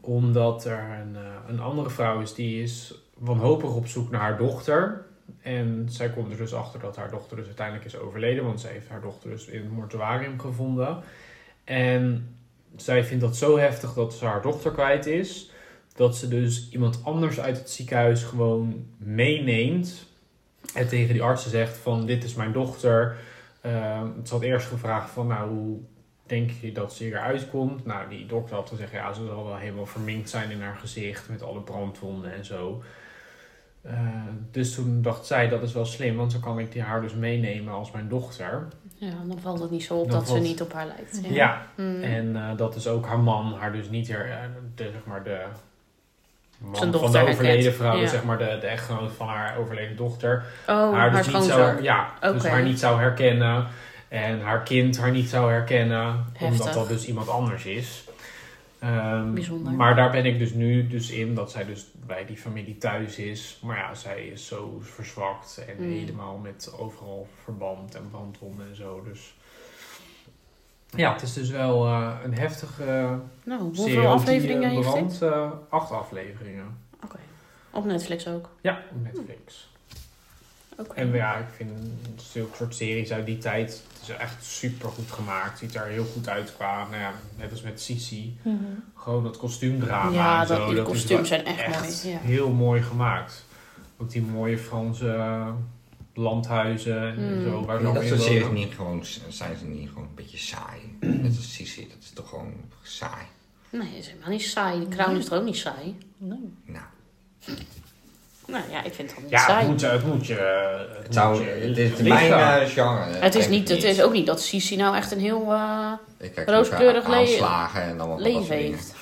Omdat er een, eh, een andere vrouw is die is wanhopig op zoek naar haar dochter. En zij komt er dus achter dat haar dochter dus uiteindelijk is overleden. Want zij heeft haar dochter dus in het mortuarium gevonden. En zij vindt dat zo heftig dat ze haar dochter kwijt is. Dat ze dus iemand anders uit het ziekenhuis gewoon meeneemt. En tegen die artsen zegt van dit is mijn dochter. Ehm ze had eerst gevraagd van nou hoe denk je dat ze eruit komt? Nou die dokter had gezegd ja ze zal wel helemaal verminkt zijn in haar gezicht. Met alle brandwonden en zo. Eh, dus toen dacht zij dat is wel slim. Want dan kan ik die haar dus meenemen als mijn dochter. Ja, dan valt het niet zo op Dan dat ze valt- niet op haar lijkt. Ja. ja Mm. en eh, dat is ook haar man, haar dus niet her, eh, de, zeg maar de man Zijn van dochter de overleden herkent, vrouw, ja. zeg maar de, de echtgenoot van haar overleden dochter. oh, haar, dus, niet schoonzoon. zou, ja, dus Oké. haar niet zou herkennen en haar kind haar niet zou herkennen, Heftig. omdat dat dus iemand anders is. Ehm, Bijzonder. Maar daar ben ik dus nu dus in dat zij dus bij die familie thuis is. Maar ja, zij is zo verzwakt en Mm. helemaal met overal verband en brandwonden en zo. Dus ja, het is dus wel eh, een heftige eh, Nou, hoeveel serie ook die, afleveringen eh, heeft brandt, dit? eh, acht afleveringen. Oké. Op Netflix ook. Ja, op Netflix. Oké. En ja, ik vind zulke soort series uit die tijd. Het is echt super goed gemaakt. Ziet er heel goed uit qua, nou ja, net als met Sisi. Mhm. Gewoon dat kostuumdrama. Ja, en dat- zo, die is kostuums wel zijn echt mooi, ja. Heel mooi gemaakt. Ook die mooie Franse eh, landhuizen en Mm. zo. Waar ze Maar allemaal dat in soort series wonen. niet gewoon, zijn ze niet gewoon een beetje saai. Net als Sisi, dat is toch gewoon saai. Nee, dat is helemaal niet saai. De Crown is toch ook niet saai? Nee. Nou, Nou ja, ik vind het niet Ja, het saai. moet je. Het, moet je, eh, het, zou, moet je het is liggen. mijn eh, genre. Het is, Kijk niet, ik het is ook niet dat Sisi nou echt een heel eh, Ik kijk rooskleurig liever le- aanslagen en allemaal van dat leven soort dingen. heeft.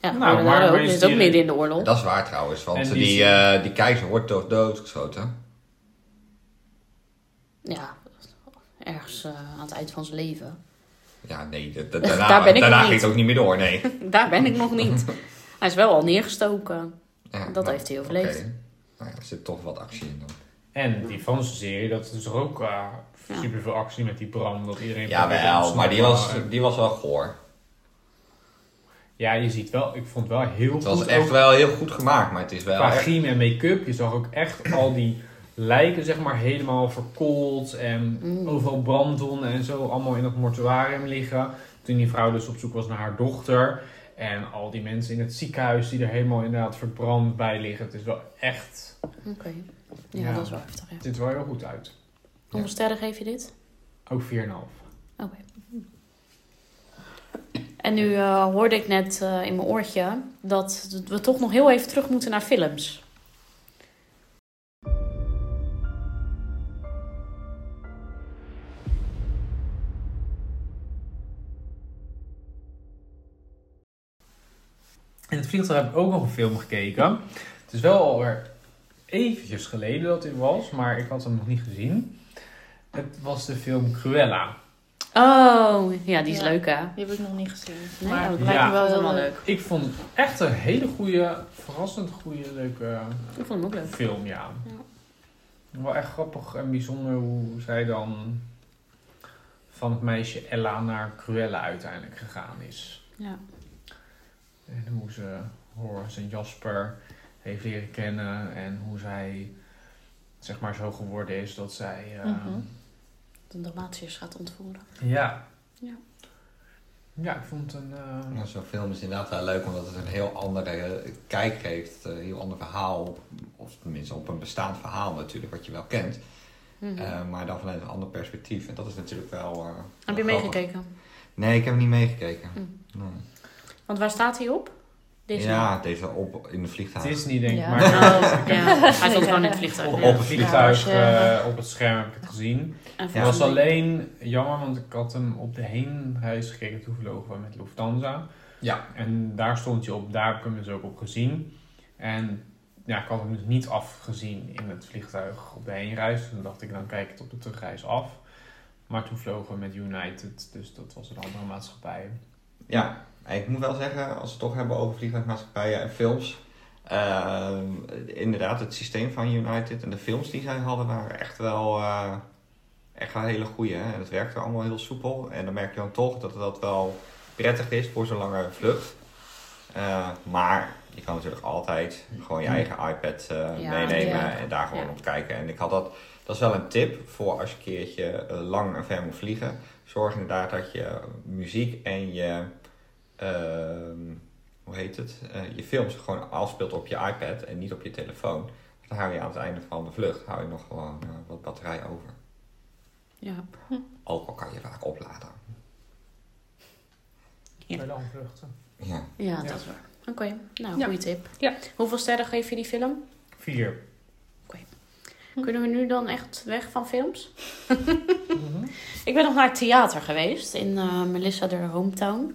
Ja, Nou, maar, maar- daar ook. maar Dit is zit ook die- midden in de oorlog. Dat is waar trouwens, want En die, die- eh, die keizer wordt toch doodgeschoten. Ja, ergens eh, aan het eind van zijn leven. Ja, nee, da- da- daarna, Daar ben ik daarna nog ging niet. het ook niet meer door, nee. Daar ben ik nog niet. Hij is wel al neergestoken. Ja, Dat heeft hij overleefd. oké. Nou ja, er zit toch wat actie in dan. En die Franse serie, dat is er ook eh Ja. super veel actie met die brand. Dat iedereen probeert te Jawel, ontsnappen. maar die was, En- die was wel goor. Ja, je ziet wel, ik vond wel heel Het was goed echt ook wel heel goed gemaakt, maar het is wel qua echt... griem en make-up. Je zag ook echt al die lijken, zeg maar, helemaal verkoold. En Mm. overal brandwonden en zo, allemaal in dat mortuarium liggen. Toen die vrouw dus op zoek was naar haar dochter. En al die mensen in het ziekenhuis die er helemaal inderdaad verbrand bij liggen. Het is wel echt, Oké. Ja, Ja. dat is wel heftig. Ja. het ziet er wel heel goed uit. Hoeveel sterren geef je dit? Ook 4,5. Oké. Hm. En nu eh, hoorde ik net eh, in mijn oortje dat we toch nog heel even terug moeten naar films. In het vliegtuig heb ik ook nog een film gekeken. Het is wel alweer eventjes geleden dat dit was, maar ik had hem nog niet gezien. Het was de film Cruella. Oh, ja, die is Ja. leuk hè? Die heb ik nog niet gezien. Nee, maar dat het ja. lijkt me wel vond heel hem leuk. Ik vond het echt een hele goede, verrassend goede, leuke Ik vond hem ook leuk. film, ja. Wel echt grappig en bijzonder hoe zij dan van het meisje Ella naar Cruella uiteindelijk gegaan is. Ja. En hoe ze Horace en Jasper heeft leren kennen en hoe zij zeg maar zo geworden is dat zij... eh, Mhm. De Dalmatiërs gaat ontvoeren. Ja. Ja. Ja, ik vond een... eh, Nou, Zo'n film is inderdaad wel leuk omdat het een heel andere kijk geeft. Een heel ander verhaal. Of tenminste op een bestaand verhaal natuurlijk, wat je wel kent. Mhm. Eh, maar dan vanuit een ander perspectief. En dat is natuurlijk wel. eh, wel Heb je grappig. meegekeken? Mhm. Nee, ik heb niet meegekeken. Nee. Want waar staat hij op? Deze Ja, deze op in de vliegtuig. Het is niet denk ik, Ja. maar... Oh, ja. Hij komt gewoon in het Op, vliegtuig. op Ja. het vliegtuig, Ja. eh, op het scherm heb ik het gezien. En Het volgens was mij- alleen jammer, want ik had hem op de heenreis gekeken. Toen vlogen we met Lufthansa. Ja. En daar stond hij op. Daar heb ik hem dus ook op gezien. En ja, ik had hem dus niet afgezien in het vliegtuig op de heenreis. Toen dacht ik, dan kijk ik het op de terugreis af. Maar toen vlogen we met United, dus dat was een andere maatschappij. Ja, en ik moet wel zeggen, als we het toch hebben over vliegtuigmaatschappijen en films. eh, inderdaad, het systeem van United en de films die zij hadden waren echt wel, eh, echt wel hele goede. En het werkte allemaal heel soepel. En dan merk je dan toch dat dat wel prettig is voor zo'n lange vlucht. Eh, maar je kan natuurlijk altijd gewoon je eigen iPad eh, Ja, meenemen ja. en daar gewoon Ja. op kijken. En ik had dat, dat is wel een tip voor als je een keertje eh, lang en ver moet vliegen. Zorg inderdaad dat je muziek en je, ehm, hoe heet het, Eh, je films gewoon afspeelt op je iPad en niet op je telefoon. Want Dan hou je aan het einde van de vlucht hou je nog gewoon eh, wat batterij over. Ja. Ook al kan je vaak opladen. Ja. Bij lange vluchten. Ja. ja, Ja. dat is waar. Oké, nou, Ja. goede tip. Ja. Hoeveel sterren geef je die film? Vier. Kunnen we nu dan echt weg van films? Mhm. Ik ben nog naar het theater geweest in eh, Melissa de Hometown.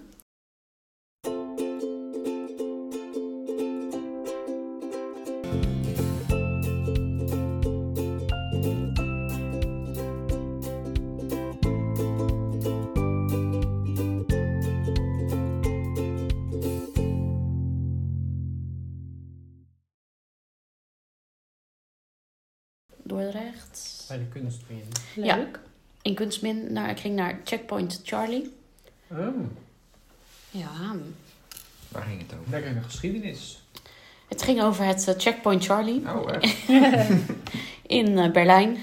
Dordrecht. Bij de kunstmin. Leuk. In Kunstmin, naar, ik ging naar Checkpoint Charlie. Mm, Ja. Waar ging het over? lekker in de geschiedenis. Het ging over het eh, Checkpoint Charlie Oh, echt? in eh, Berlijn,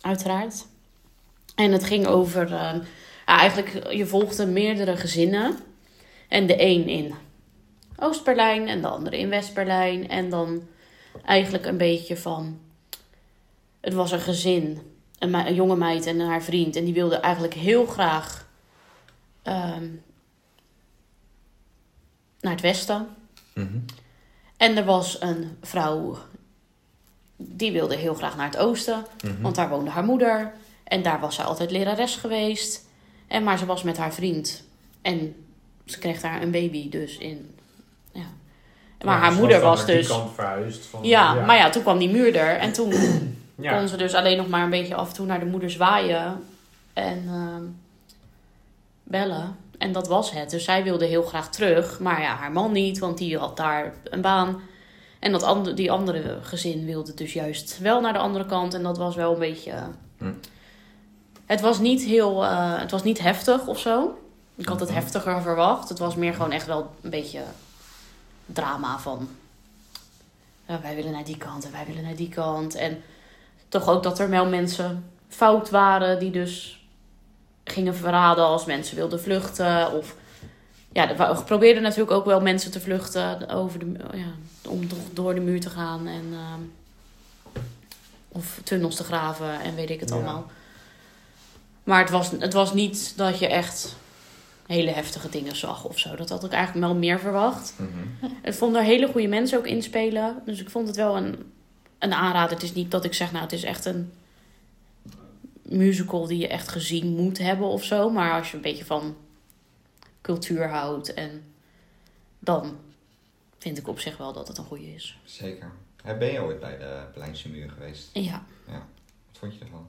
uiteraard. En het ging over, eh, ja, eigenlijk, eh, je volgde meerdere gezinnen. En de een in Oost-Berlijn en de andere in West-Berlijn. En dan eigenlijk een beetje van, het was een gezin, een, mei- een jonge meid en haar vriend. En die wilden eigenlijk heel graag ehm, naar het westen. Mhm. En er was een vrouw die wilde heel graag naar het oosten, Mhm. Hm. want daar woonde haar moeder. En daar was zij altijd lerares geweest. En, maar ze was met haar vriend. En ze kreeg daar een baby dus in. Ja. Maar Ja, haar ze moeder dan was naar die dus... kant verhuisd van- Ja, maar ja, toen kwam die muur er. En toen Ja. kon ze dus alleen nog maar een beetje af en toe naar de moeder zwaaien. En ehm, bellen. En dat was het. Dus zij wilde heel graag terug. Maar ja, haar man niet, want die had daar een baan. En dat ander, die andere gezin wilde dus juist wel naar de andere kant. En dat was wel een beetje... Hm. Het was niet heel... eh, het was niet heftig of zo. Ik had het Mhm. heftiger verwacht. Het was meer gewoon echt wel een beetje drama van... ja, wij willen naar die kant en wij willen naar die kant. En toch ook dat er wel mensen fout waren die dus gingen verraden als mensen wilden vluchten. Of ja, er wa- probeerden natuurlijk ook wel mensen te vluchten over de, mu- ja, om toch door de muur te gaan. En, ehm, of tunnels te graven en weet ik het Ja. allemaal. Maar het was, het was niet dat je echt hele heftige dingen zag of zo. Dat had ik eigenlijk wel meer verwacht. Mhm. Ik vond er hele goede mensen ook inspelen. Dus ik vond het wel een, een aanrader. Het is niet dat ik zeg, nou, het is echt een musical die je echt gezien moet hebben of zo. Maar als je een beetje van cultuur houdt en dan vind ik op zich wel dat het een goede is. Zeker. Hey, Ben je ooit bij de Berlijnse muur geweest? Ja, Wat vond je ervan?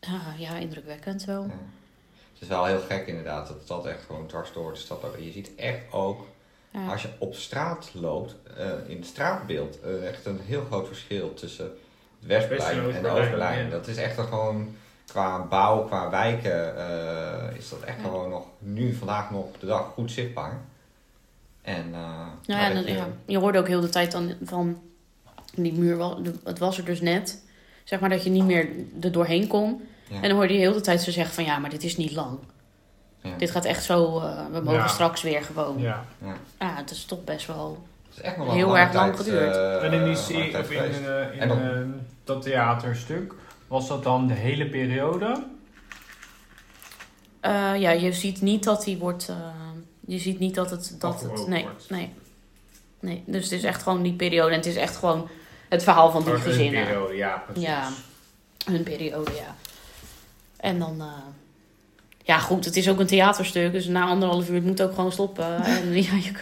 ja, Ah, ja indrukwekkend wel. Ja. Het is wel heel gek inderdaad, dat de stad echt gewoon dwars door de stad ook. Je ziet echt ook Ja. Als je op straat loopt, eh, in het straatbeeld, eh, echt een heel groot verschil tussen het Westplein Westen- en Oost-Berlijn, Oost-Berlijn. ja. Dat is echt dan gewoon qua bouw, qua wijken, eh, is dat echt gewoon nog nu, vandaag nog op de dag goed zichtbaar. En, eh, Nou maar ja, dat dan- je- ja, je hoorde ook heel de tijd dan van die muur, wa- het was er dus net. Zeg maar dat je niet meer er doorheen kon. Ja. En dan hoorde je heel de tijd ze zeggen van ja, maar dit is niet lang. ja. Dit gaat echt zo, eh, we mogen Ja. straks weer gewoon. Ja. Ja. het is toch best wel... Het is echt nog wel Heel een lange erg lang tijd, geduurd. eh, en in die lange serie, tijd of in, geweest. eh, in En dan- eh, dat theaterstuk, was dat dan de hele periode? Eh, ja, je ziet niet dat die wordt... eh, je ziet niet dat het... Dat het Afgebroken nee, wordt. nee, nee. Dus het is echt gewoon die periode. En het is echt gewoon het verhaal van drie Of hun gezinnen. periode, ja, precies. Ja. Hun periode, ja. En dan... eh, ja, goed, het is ook een theaterstuk. Dus na anderhalf uur, het moet ook gewoon stoppen. En ja, je,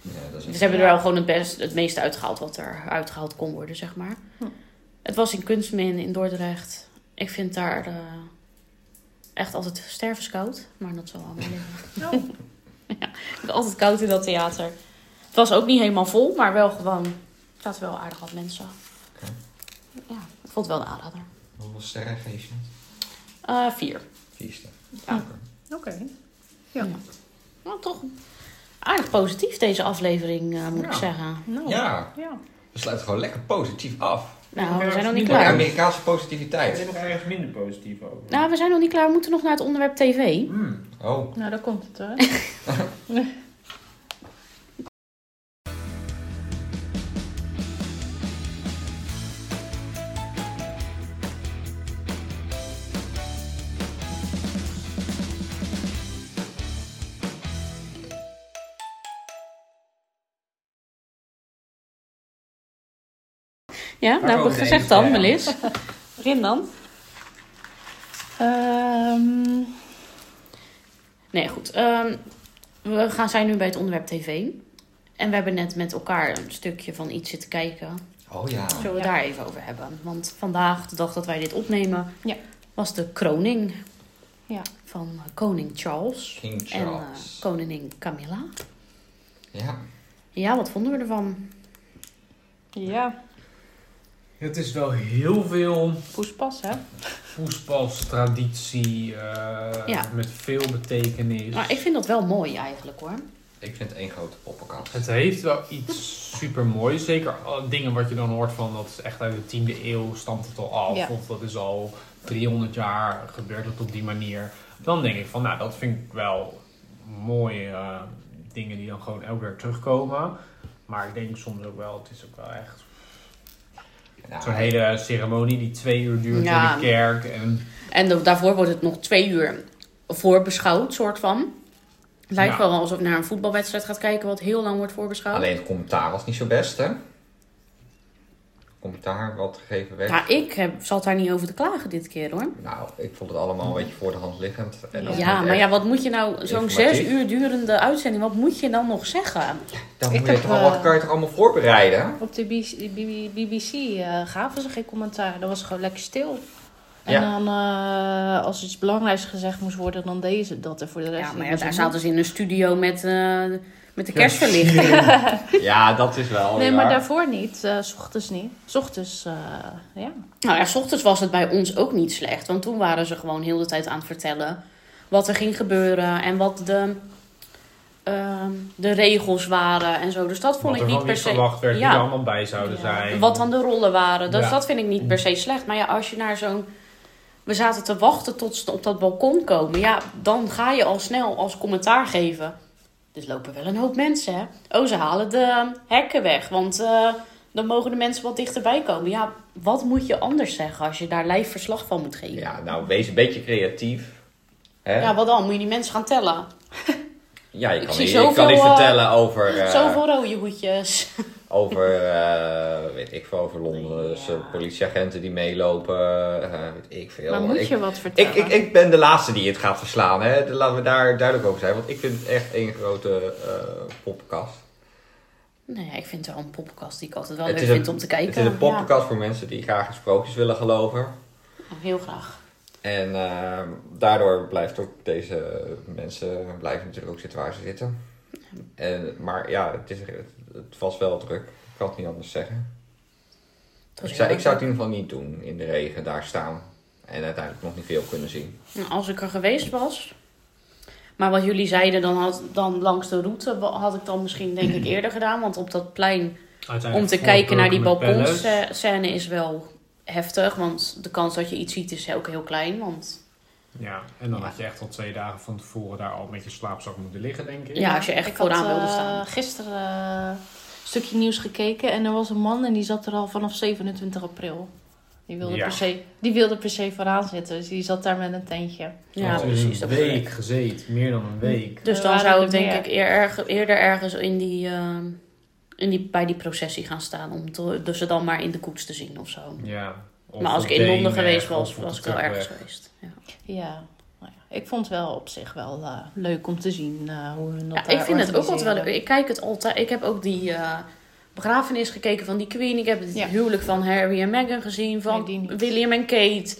Ja, dat is ze hebben er wel gewoon het, best, het meeste uitgehaald wat er uitgehaald kon worden, zeg maar. Hm. Het was in Kunstmin in Dordrecht. Ik vind daar eh, echt altijd stervenskoud. Maar dat zal allemaal liggen. Oh. ja, ik vind altijd koud in dat theater. Het was ook niet helemaal vol, maar wel gewoon... Er zaten wel aardig wat mensen. Oké. Ja, ik vond het wel een aanrader. Hoeveel sterren geef je het? Eh, vier. Vier sterren. Ja. Oké. Oké. Ja. Nou, toch aardig positief deze aflevering, eh, moet Ja. ik zeggen. Nou, Ja, ja. we sluiten gewoon lekker positief af. Nou, we Ja, zijn nog niet niet Voor de klaar. Amerikaanse Ik positiviteit. ben nog ergens minder positief over. Nou, we zijn nog niet klaar. We moeten nog naar het onderwerp tv. Hmm. Oh, Nou, daar komt het, hè. Ja, Daar nou heb komen ik de gezegd ene dan, ster. Melis. Begin dan. Ehm, Nee, goed. Ehm, we gaan, zijn nu bij het onderwerp tv. En we hebben net met elkaar een stukje van iets zitten kijken. oh ja. Zullen we Ja. daar even over hebben? Want vandaag, de dag dat wij dit opnemen, Ja. was de kroning Ja. van eh, koning Charles, King en eh, Charles. koningin Camilla. ja. Ja, wat vonden we ervan? ja, Het is wel heel veel poespas, hè. voetbalstraditie eh, Ja. met veel betekenis. Nou, ik vind dat wel mooi eigenlijk hoor. Ik vind het één grote poppenkast. Het heeft wel iets supermoois. Zeker al- dingen wat je dan hoort van dat is echt uit de 10e eeuw stamt het al af. Ja. Of dat is al 300 jaar gebeurt het op die manier. Dan denk ik van nou dat vind ik wel mooie eh, dingen die dan gewoon elke keer terugkomen. Maar ik denk soms ook wel, het is ook wel echt Nou, zo'n hele ceremonie die twee uur duurt Ja. in de kerk. En En da- daarvoor wordt het nog twee uur voorbeschouwd, soort van. Het lijkt Ja. wel alsof je naar een voetbalwedstrijd gaat kijken, wat heel lang wordt voorbeschouwd. Alleen het commentaar was niet zo best, hè? Commentaar wat gegeven werd. Ja, ik heb, zat daar niet over te klagen dit keer hoor. Nou, ik vond het allemaal een beetje voor de hand liggend. En dat Ja, is niet maar echt. ja, wat moet je nou, zo'n informatief. zes uur durende uitzending, wat moet je dan nog zeggen? Dan Ik moet je heb, toch al, eh, kan je toch allemaal voorbereiden? Op de BBC, BBC eh, gaven ze geen commentaar. Dat was gewoon lekker stil. En Ja. dan eh, als iets belangrijks gezegd moest worden, dan deden ze dat. En voor de rest... Ja, maar ja, daar zaten ze in een studio met, eh, met de kerstverlichting. Ja. Ja, dat is wel. Nee, Oh, ja. maar daarvoor niet. eh, 's ochtends niet. 's ochtends, eh, ja. Nou ja, 's ochtends was het bij ons ook niet slecht. Want toen waren ze gewoon heel de tijd aan het vertellen wat er ging gebeuren en wat de, ehm, de regels waren en zo. Dus dat vond wat ik er niet van per niet se. verwacht werd, die Ja. er allemaal bij zouden Ja. zijn. Wat dan de rollen waren. Dus Ja. dat vind ik niet per se slecht. Maar ja, als je naar zo'n. We zaten te wachten tot ze op dat balkon komen. Ja, dan ga je al snel als commentaar geven. Dus lopen wel een hoop mensen, hè? Oh, ze halen de hekken weg. Want eh, dan mogen de mensen wat dichterbij komen. Ja, wat moet je anders zeggen als je daar live verslag van moet geven? Ja, Ja, nou, wees een beetje creatief. Hè? Ja, wat dan? Moet je die mensen gaan tellen? je ik kan, zie niet, je zoveel, kan niet eh, vertellen over, eh, Zoveel rode hoedjes. over eh, weet ik veel, over Londense Ja. politieagenten die meelopen. eh, weet ik veel. Maar moet Ik- je wat vertellen? Ik, ik, ik ben de laatste die het gaat verslaan, hè? De- laten we daar duidelijk over zijn. Want ik vind het echt één grote eh poppenkast. Nee, ik vind het wel een poppenkast die ik altijd wel Het leuk is een- vind om te kijken. Het is een Ja, poppenkast voor mensen die graag in sprookjes willen geloven. heel graag. En eh, daardoor blijft ook deze mensen blijven natuurlijk ook zitten waar ze zitten. En, maar ja, het, is, het, het was wel druk. Ik kan het niet anders zeggen. Het was Ik zou, heel ik zou het in ieder geval niet doen. In de regen daar staan. En uiteindelijk nog niet veel kunnen zien. Nou, als ik er geweest was. Maar wat jullie zeiden, dan, had, dan langs de route wa- had ik dan misschien denk ik eerder gedaan. Want op dat plein, om te kijken naar die balkonscène is wel heftig. Want de kans dat je iets ziet is ook heel klein. Want Ja, en dan Ja. had je echt al twee dagen van tevoren daar al met je slaapzak moeten liggen, denk ik. ja, als je echt Ik had vooraan wilde eh, staan. gisteren eh, een stukje nieuws gekeken en er was een man en die zat er al vanaf 27 april. Die wilde, Ja. per, se, die wilde per se vooraan zitten, dus die zat daar met een tentje. Ja, Want er is precies. dat Een bedoel ik. week gezeten, meer dan een week. Dus Er dan waren zou er ik denk meer. ik eer- erg- eerder ergens in die, ehm, in die, bij die processie gaan staan. Om te, dus ze dan maar in de koets te zien of zo. Ja. Of maar als op ik in Londen Deenweg, geweest of was, op was de ik wel ergens terugweg. geweest. Ja. Ja, nou ja, ik vond het wel op zich wel eh, leuk om te zien eh, hoe hun dat Ja, daar ik vind het ook altijd wel leuk. organiseren. Ik kijk het altijd. Ik heb ook die eh, begrafenis gekeken van die Queen. Ik heb het Ja. huwelijk van Harry en Meghan gezien. Van Nee, die niet. William en Kate.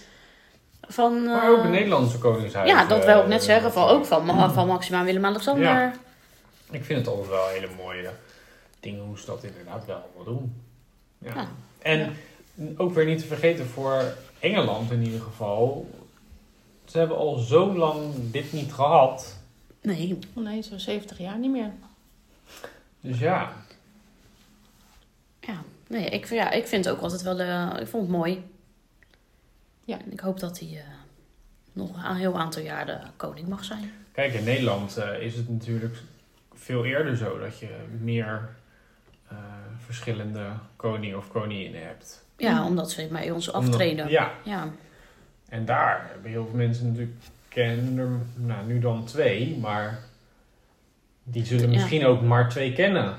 Van, Maar ook eh, het Nederlandse koningshuis. Ja, dat wil ik eh, net zeggen. Van, ook van, Ma- van Maxima en Willem-Alexander. Ja. Ik vind het altijd wel hele mooie dingen hoe ze dat inderdaad wel allemaal doen. Ja. Ja. En Ja. ook weer niet te vergeten voor Engeland in ieder geval. Ze hebben al zo lang dit niet gehad. Nee, Oh, Nee, zo'n 70 jaar niet meer. Dus ja, ja. nee ik, vind- ja, ik vind het ook altijd wel... eh, ik vond het mooi. Ja. En ik hoop dat hij eh, nog een heel aantal jaar de koning mag zijn. Kijk, in Nederland eh, is het natuurlijk veel eerder zo dat je meer eh, verschillende koningen of koninginnen hebt. Ja, Mm. omdat ze bij ons Omdat- aftreden. ja, ja. en daar hebben heel veel mensen natuurlijk kennen er nou, nu dan twee, maar die zullen Ja. misschien ook maar twee kennen.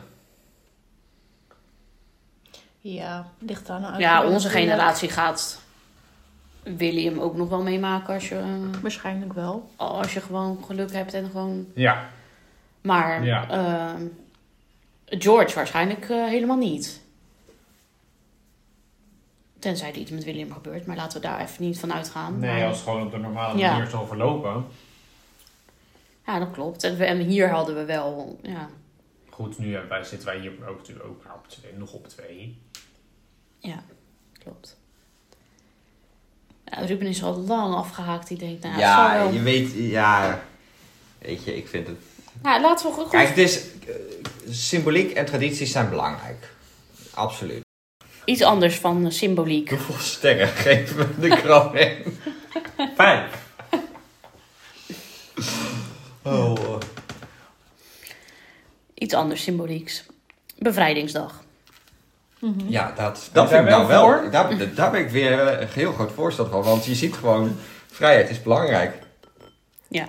Ja, ligt daar nou uit. Ja, onze generatie gaat William ook nog wel meemaken als je, eh, Waarschijnlijk wel. als je gewoon geluk hebt en gewoon. Ja, Maar Ja. eh, George waarschijnlijk eh, helemaal niet. Tenzij er iets met William gebeurt, maar laten we daar even niet van uitgaan. nee, Maar- als het gewoon op de normale Ja. manier zal verlopen. Ja, dat klopt. En, we- en hier hadden we wel. Ja, Goed, nu hebben wij, zitten wij hier ook natuurlijk ook maar op twee, nog op twee. ja klopt. Ja, Ruben is al lang afgehaakt. Die denkt, nou, ja, het ja, zal wel. je weet, ja. Weet je, ik vind het. Ja, laten we goed. Kijk, het is. eh, Symboliek en tradities zijn belangrijk. Absoluut. Iets anders van eh, symboliek. Hoeveel sterren geven we de kroon in? Vijf. Oh. Iets anders symbolieks. Bevrijdingsdag. Ja, dat, Daar dat vind ik ben nou je wel. voor? Daar, daar ben ik weer eh, een heel groot voorstander van. Want je ziet gewoon, vrijheid is belangrijk. Ja,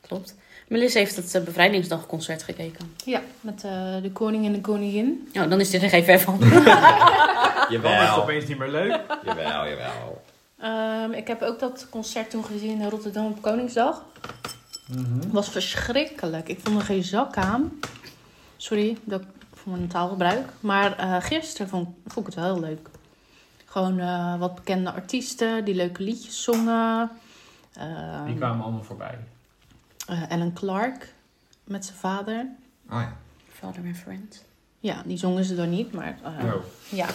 klopt. Melissa heeft het eh, bevrijdingsdagconcert gekeken. Ja, met eh, de koning en de koningin. Nou, dan is dit er geen ver van. Dan is het opeens niet meer leuk. jawel, jawel. Ehm, ik heb ook dat concert toen gezien in Rotterdam op Koningsdag. Mhm. was verschrikkelijk. Ik vond er geen zak aan. Sorry dat ik voor mijn taalgebruik. Maar eh, gisteren vond, vond ik het wel heel leuk. Gewoon eh, wat bekende artiesten die leuke liedjes zongen. Ehm, Die kwamen allemaal voorbij. eh, Ellen Clark met zijn vader. Oh ja. Father and friend. Ja, die zongen ze dan niet, maar eh, Oh. ja.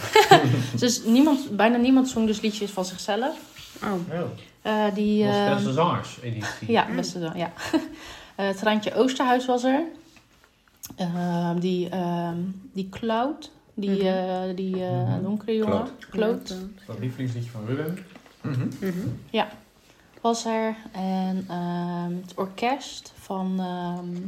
dus niemand, bijna niemand zong dus liedjes van zichzelf. Oh, Oh. Eh, die, Dat was ehm, best een zangerseditie. Ja, best wel, ja. Eh, het randje Oosterhuis was er. Ehm, die, ehm, die Cloud, die, Mhm. eh, die eh, Mhm. donkere jongen, Cloud, Dat lievelingsliedje van Ruben. Mhm. Mhm. was er. En ehm, het orkest van, ehm,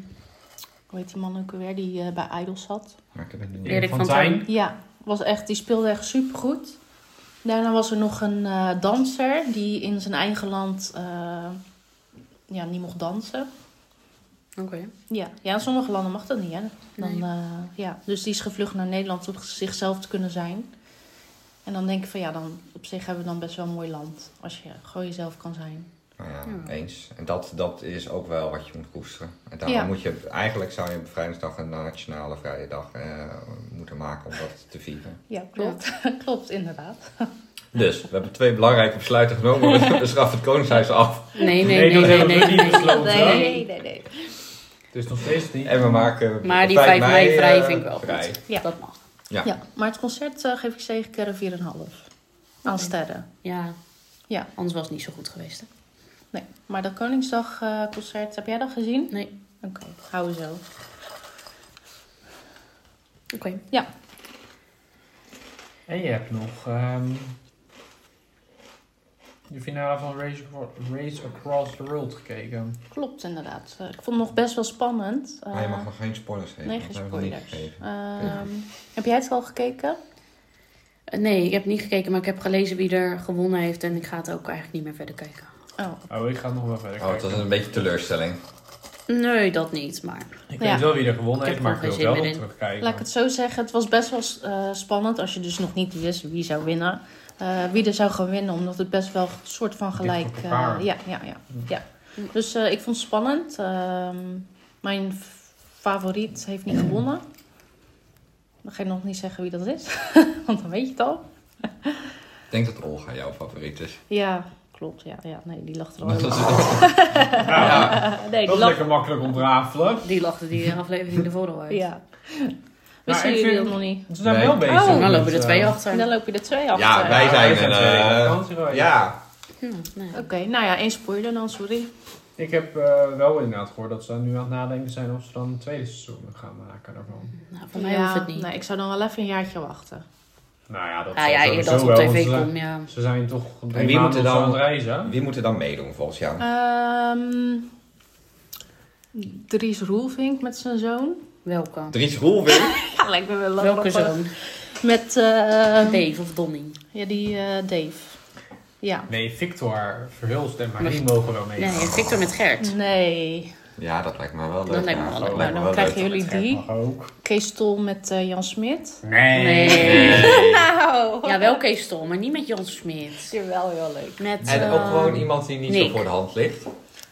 hoe heet die man ook alweer, die eh, bij Idol zat. Maar ik heb het niet. Erik van Tijn. Ja, was echt, die speelde echt supergoed. Daarna was er nog een eh, danser die in zijn eigen land eh, ja, niet mocht dansen. Oké. Ja, ja in sommige landen mag dat niet, hè? Dan, Nee. eh, ja. Dus die is gevlucht naar Nederland om zichzelf te kunnen zijn. En dan denk ik van ja, dan, op zich hebben we dan best wel een mooi land. Als je gewoon jezelf kan zijn. Nou ja, Ja. eens. En dat, dat is ook wel wat je moet koesteren. En daarom Ja. moet je, eigenlijk zou je Bevrijdingsdag een nationale vrije dag eh, moeten maken om dat te vieren. Ja, klopt. klopt, inderdaad. Dus, we hebben twee belangrijke besluiten genomen. We schaffen het Koningshuis af. Nee, nee, nee, nee. dat nee, hebben we niet besloten. Nee, nee, nee. nee. Het is nog steeds niet. En we maken Maar die 5 5 mei eh, vrij vind ik wel vrij. goed. Ja. Dat mag. Ja. maar het concert eh, geef ik zeker een 4,5 aan sterren. Ja. Ja. Anders was het niet zo goed geweest. Hè? Nee, maar dat Koningsdag eh, concert, heb jij dat gezien? Nee. Oké, gaan we zo. Oké. Ja, En je hebt nog ehm, de finale van Race, Acro- Race Across the World gekeken. klopt inderdaad. Eh, ik vond het nog best wel spannend. Eh, Maar je mag nog geen spoilers geven. nee, want geen we hebben het nog spoilers. niet gegeven. Ehm, heb jij het al gekeken? Eh, Nee, ik heb niet gekeken, maar ik heb gelezen wie er gewonnen heeft. En ik ga het ook eigenlijk niet meer verder kijken. Oh, Oh, ik ga nog wel verder Oh, het was kijken. een beetje teleurstelling. Nee, dat niet. Maar Ik Ja. weet wel wie er Ik gewonnen heb heeft, maar er ik wil geen wel zin nog meer in. terugkijken. laat ik het zo zeggen. Het was best wel eh, spannend als je dus nog niet wist wie zou winnen. Eh, wie er zou gaan winnen, omdat het best wel een soort van gelijk... Dicht op eh, elkaar. ja, ja, ja, ja. Dus eh, ik vond het spannend. Ehm, mijn f- favoriet heeft niet gewonnen. Dan ga ik nog niet zeggen wie dat is, want dan weet je het al. Ik denk dat Olga jouw favoriet is. Ja, klopt. Ja, ja nee, die lag er al Dat is helemaal het. Ja. af. Nee, Dat die is lag... lekker makkelijk ontrafelen. die lachte die aflevering ervoor al uit. Ja. Wisten Nou, ik jullie vind- dat nog niet? Ze zijn Nee. wel bezig. Oh, dan met, lopen er eh, twee En achter. dan loop je er twee achter. Ja, wij zijn zijn er, twee eh, op vakantie geweest. ja. Hm, nee. Oké, nou ja, één spoiler dan, sorry. Ik heb eh, wel inderdaad gehoord dat ze nu aan het nadenken zijn of ze dan een tweede seizoen gaan maken daarvan. Nou, voor mij ja, hoeft het niet. Nee, ik zou dan wel even een jaartje wachten. Nou ja, dat Ah ja, sowieso eer dat het op wel, eh, want tv ze- komt, ja. Ze zijn toch En drie wie maanden moeten dan... aan dan, het reizen. wie moeten dan meedoen volgens jou? Ah. Ehm Dries Roelvink met zijn zoon. Welke? Dries Roelvink? Ja, lijkt me wel lachen. Welke zoon? Met eh, Dave of Donnie? Ja, die eh, Dave. Ja. Nee, Victor Verhulst en Marie mogen wel mee. Nee, Victor met Gert. Hm. Nee. Ja, dat lijkt me wel leuk. Dat lijkt me ja. wel Dat leuk. lijkt me wel Nou, dan krijgen leuk. jullie Gert die. mag ook. Kees Tol met eh, Jan Smit. Nee. Nee. Nou. Ja, wel Kees Tol, maar niet met Jan Smit. is wel heel leuk. Met, En eh, ook gewoon iemand die niet Nick. zo voor de hand ligt.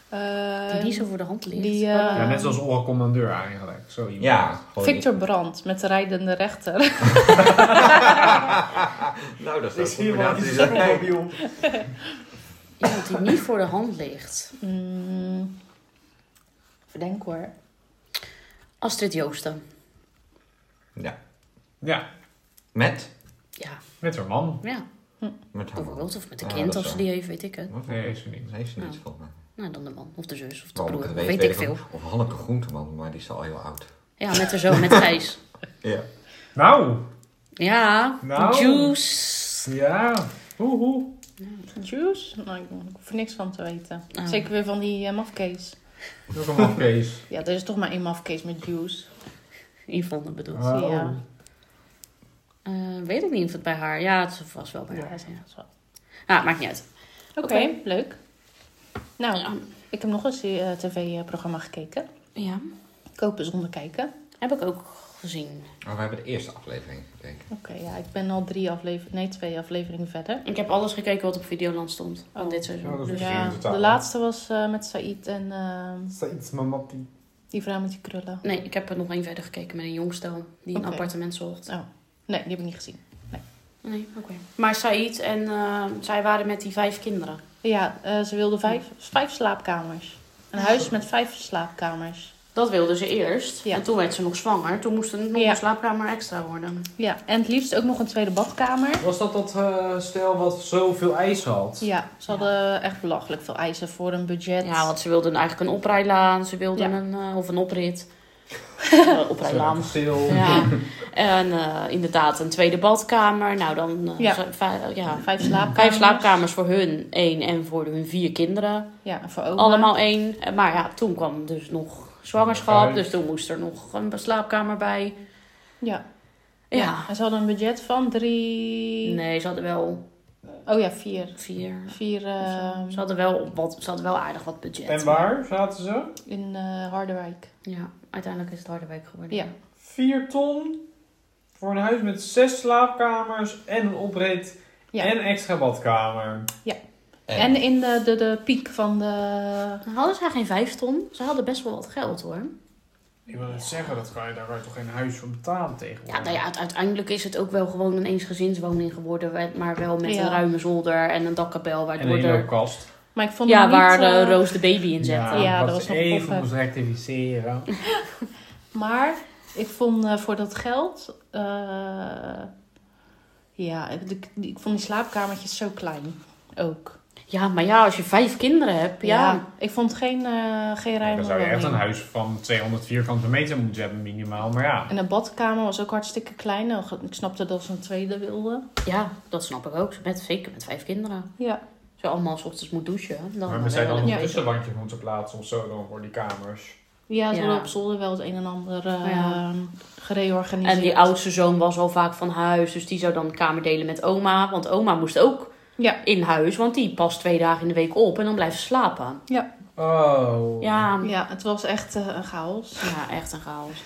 Ehm, die niet zo voor de hand ligt. die, eh, Ja, net zoals Ola Commandeur eigenlijk. Zo iemand. Ja, gewoon Victor Brandt met de rijdende rechter. niet- Nou, dat Ik is zie een hem al, combinatie die die zit zegt, op nee. mobiel. Iemand die niet voor de hand ligt. Mm. Verdenk hoor. Astrid Joosten. Ja. Ja, Met? Ja, met haar man. ja. Met haar man. Bijvoorbeeld. Of met een Ja, kind, dat of is ze waar. die heeft, weet ik het. Wat? Nee, is er niet. Nee, ze niet Ja. volgens mij. Nou, dan de man. Of de zus, of de Waarom ik broer. het Of weet, weet ik weet ik veel. ook. Of Hanneke Groenteman, maar die is al heel oud. Ja, met haar zoon, met Gijs. Ja. Nou, Ja, Nou. juice. ja. Hoehoe. Juice? Nou, ik hoef er niks van te weten. Ah. Zeker weer van die eh, mafkees. Nog een mafkees. Ja, er is toch maar één mafkees met juice. Yvonne bedoelt. Oh. Ja. Eh, weet ik niet of het bij haar... Ja, het was wel bij Ja, haar. is Ja. dat wel. Ah, maakt niet uit. Oké, Oké. leuk. Nou, Ja. ik heb nog eens een tv-programma gekeken. ja, Kopen zonder kijken. heb ik ook gezien. Maar we hebben de eerste aflevering gekeken. Oké, ja, ik ben al drie afleveringen, nee, twee afleveringen verder. Ik heb alles gekeken wat op Videoland stond. Van Oh. dit Ja, dat seizoen. is- Dus, Misschien Ja, in totaal. de laatste was eh, met Said en ehm, Is dat iets, mama? die- die vrouw met die krullen. nee, ik heb er nog één verder gekeken met een jongstel die een Oké. appartement zocht. Oh, nee, die heb ik niet gezien. Nee, oké. Maar Said en eh, zij waren met die vijf kinderen. Ja, eh, ze wilde vijf, vijf slaapkamers. Een huis met vijf slaapkamers. Dat wilden ze eerst. Ja. En toen werd ze nog zwanger. Toen moest er nog Ja. een slaapkamer extra worden. Ja, en het liefst ook nog een tweede badkamer. Was dat dat eh, stel wat zoveel ijs had? Ja, ze hadden echt belachelijk veel eisen voor een budget. Ja, want ze wilden eigenlijk een oprijlaan. Ze wilden Ja. een... eh, of een oprit. Eh, oprijlaan. Stil. Ja. En eh, inderdaad een tweede badkamer. Nou, dan... eh, Ja. ze- vij- ja. Vijf slaapkamers. Vijf slaapkamers voor hun één en voor hun vier kinderen. Ja, en voor oma. Allemaal één. Eh, Maar ja, toen kwam dus nog zwangerschap. Vijf. Dus toen moest er nog een slaapkamer bij. Ja. Ja. En ze hadden een budget van drie... Nee, ze hadden wel Oh ja, vier. vier. Vier ehm, Ze hadden wel, wat, ze hadden wel aardig wat budget. En waar zaten ze? in eh, Harderwijk. Ja, uiteindelijk is het Harderwijk geworden. Ja. 4 ton voor een huis met 6 slaapkamers en een oprit Ja. en extra badkamer. En, En in de, de, de piek van de... Dan hadden ze geen vijf ton. Ze hadden best wel wat geld hoor. Ik wil net zeggen, dat kan je, daar kan je toch geen huis voor betalen Ja, tegenwoordig? nou ja, het- uiteindelijk is het ook wel gewoon een eensgezinswoning geworden. we- Maar wel met Ja. een ruime zolder en een dakkapel. En Waardoor een er loopkast. Maar ik vond Ja, hem niet, waar eh, eh, Roos de baby in zette. Ja, wat dat was ze nog een even poffer. moest rectificeren. Maar ik vond eh, voor dat geld. eh, ja, ik, ik, ik vond die slaapkamertjes zo klein ook. Ja, maar ja, als je vijf kinderen hebt, ja. Ik vond geen, eh, geen ruime dan zou je echt een woning. huis van 200 vierkante meter moeten hebben minimaal. Maar ja, En de badkamer was ook hartstikke klein. Ik snapte dat ze een tweede wilde. Ja, dat snap ik ook. Met, zeker met vijf kinderen. Ja. Als je allemaal s ochtends moet douchen. Dan maar we zijn dan nog Ja. een tussenwandje moeten plaatsen of zo dan voor die kamers. Ja, ze Ja. hadden op zolder wel het een en ander eh, Ja. gereorganiseerd. En die oudste zoon was al vaak van huis, dus die zou dan een kamer delen met oma. Want oma moest ook Ja. in huis, want die past twee dagen in de week op en dan blijft ze slapen. Oh. Ja, ja. Ja, het was echt eh, een chaos. echt een chaos.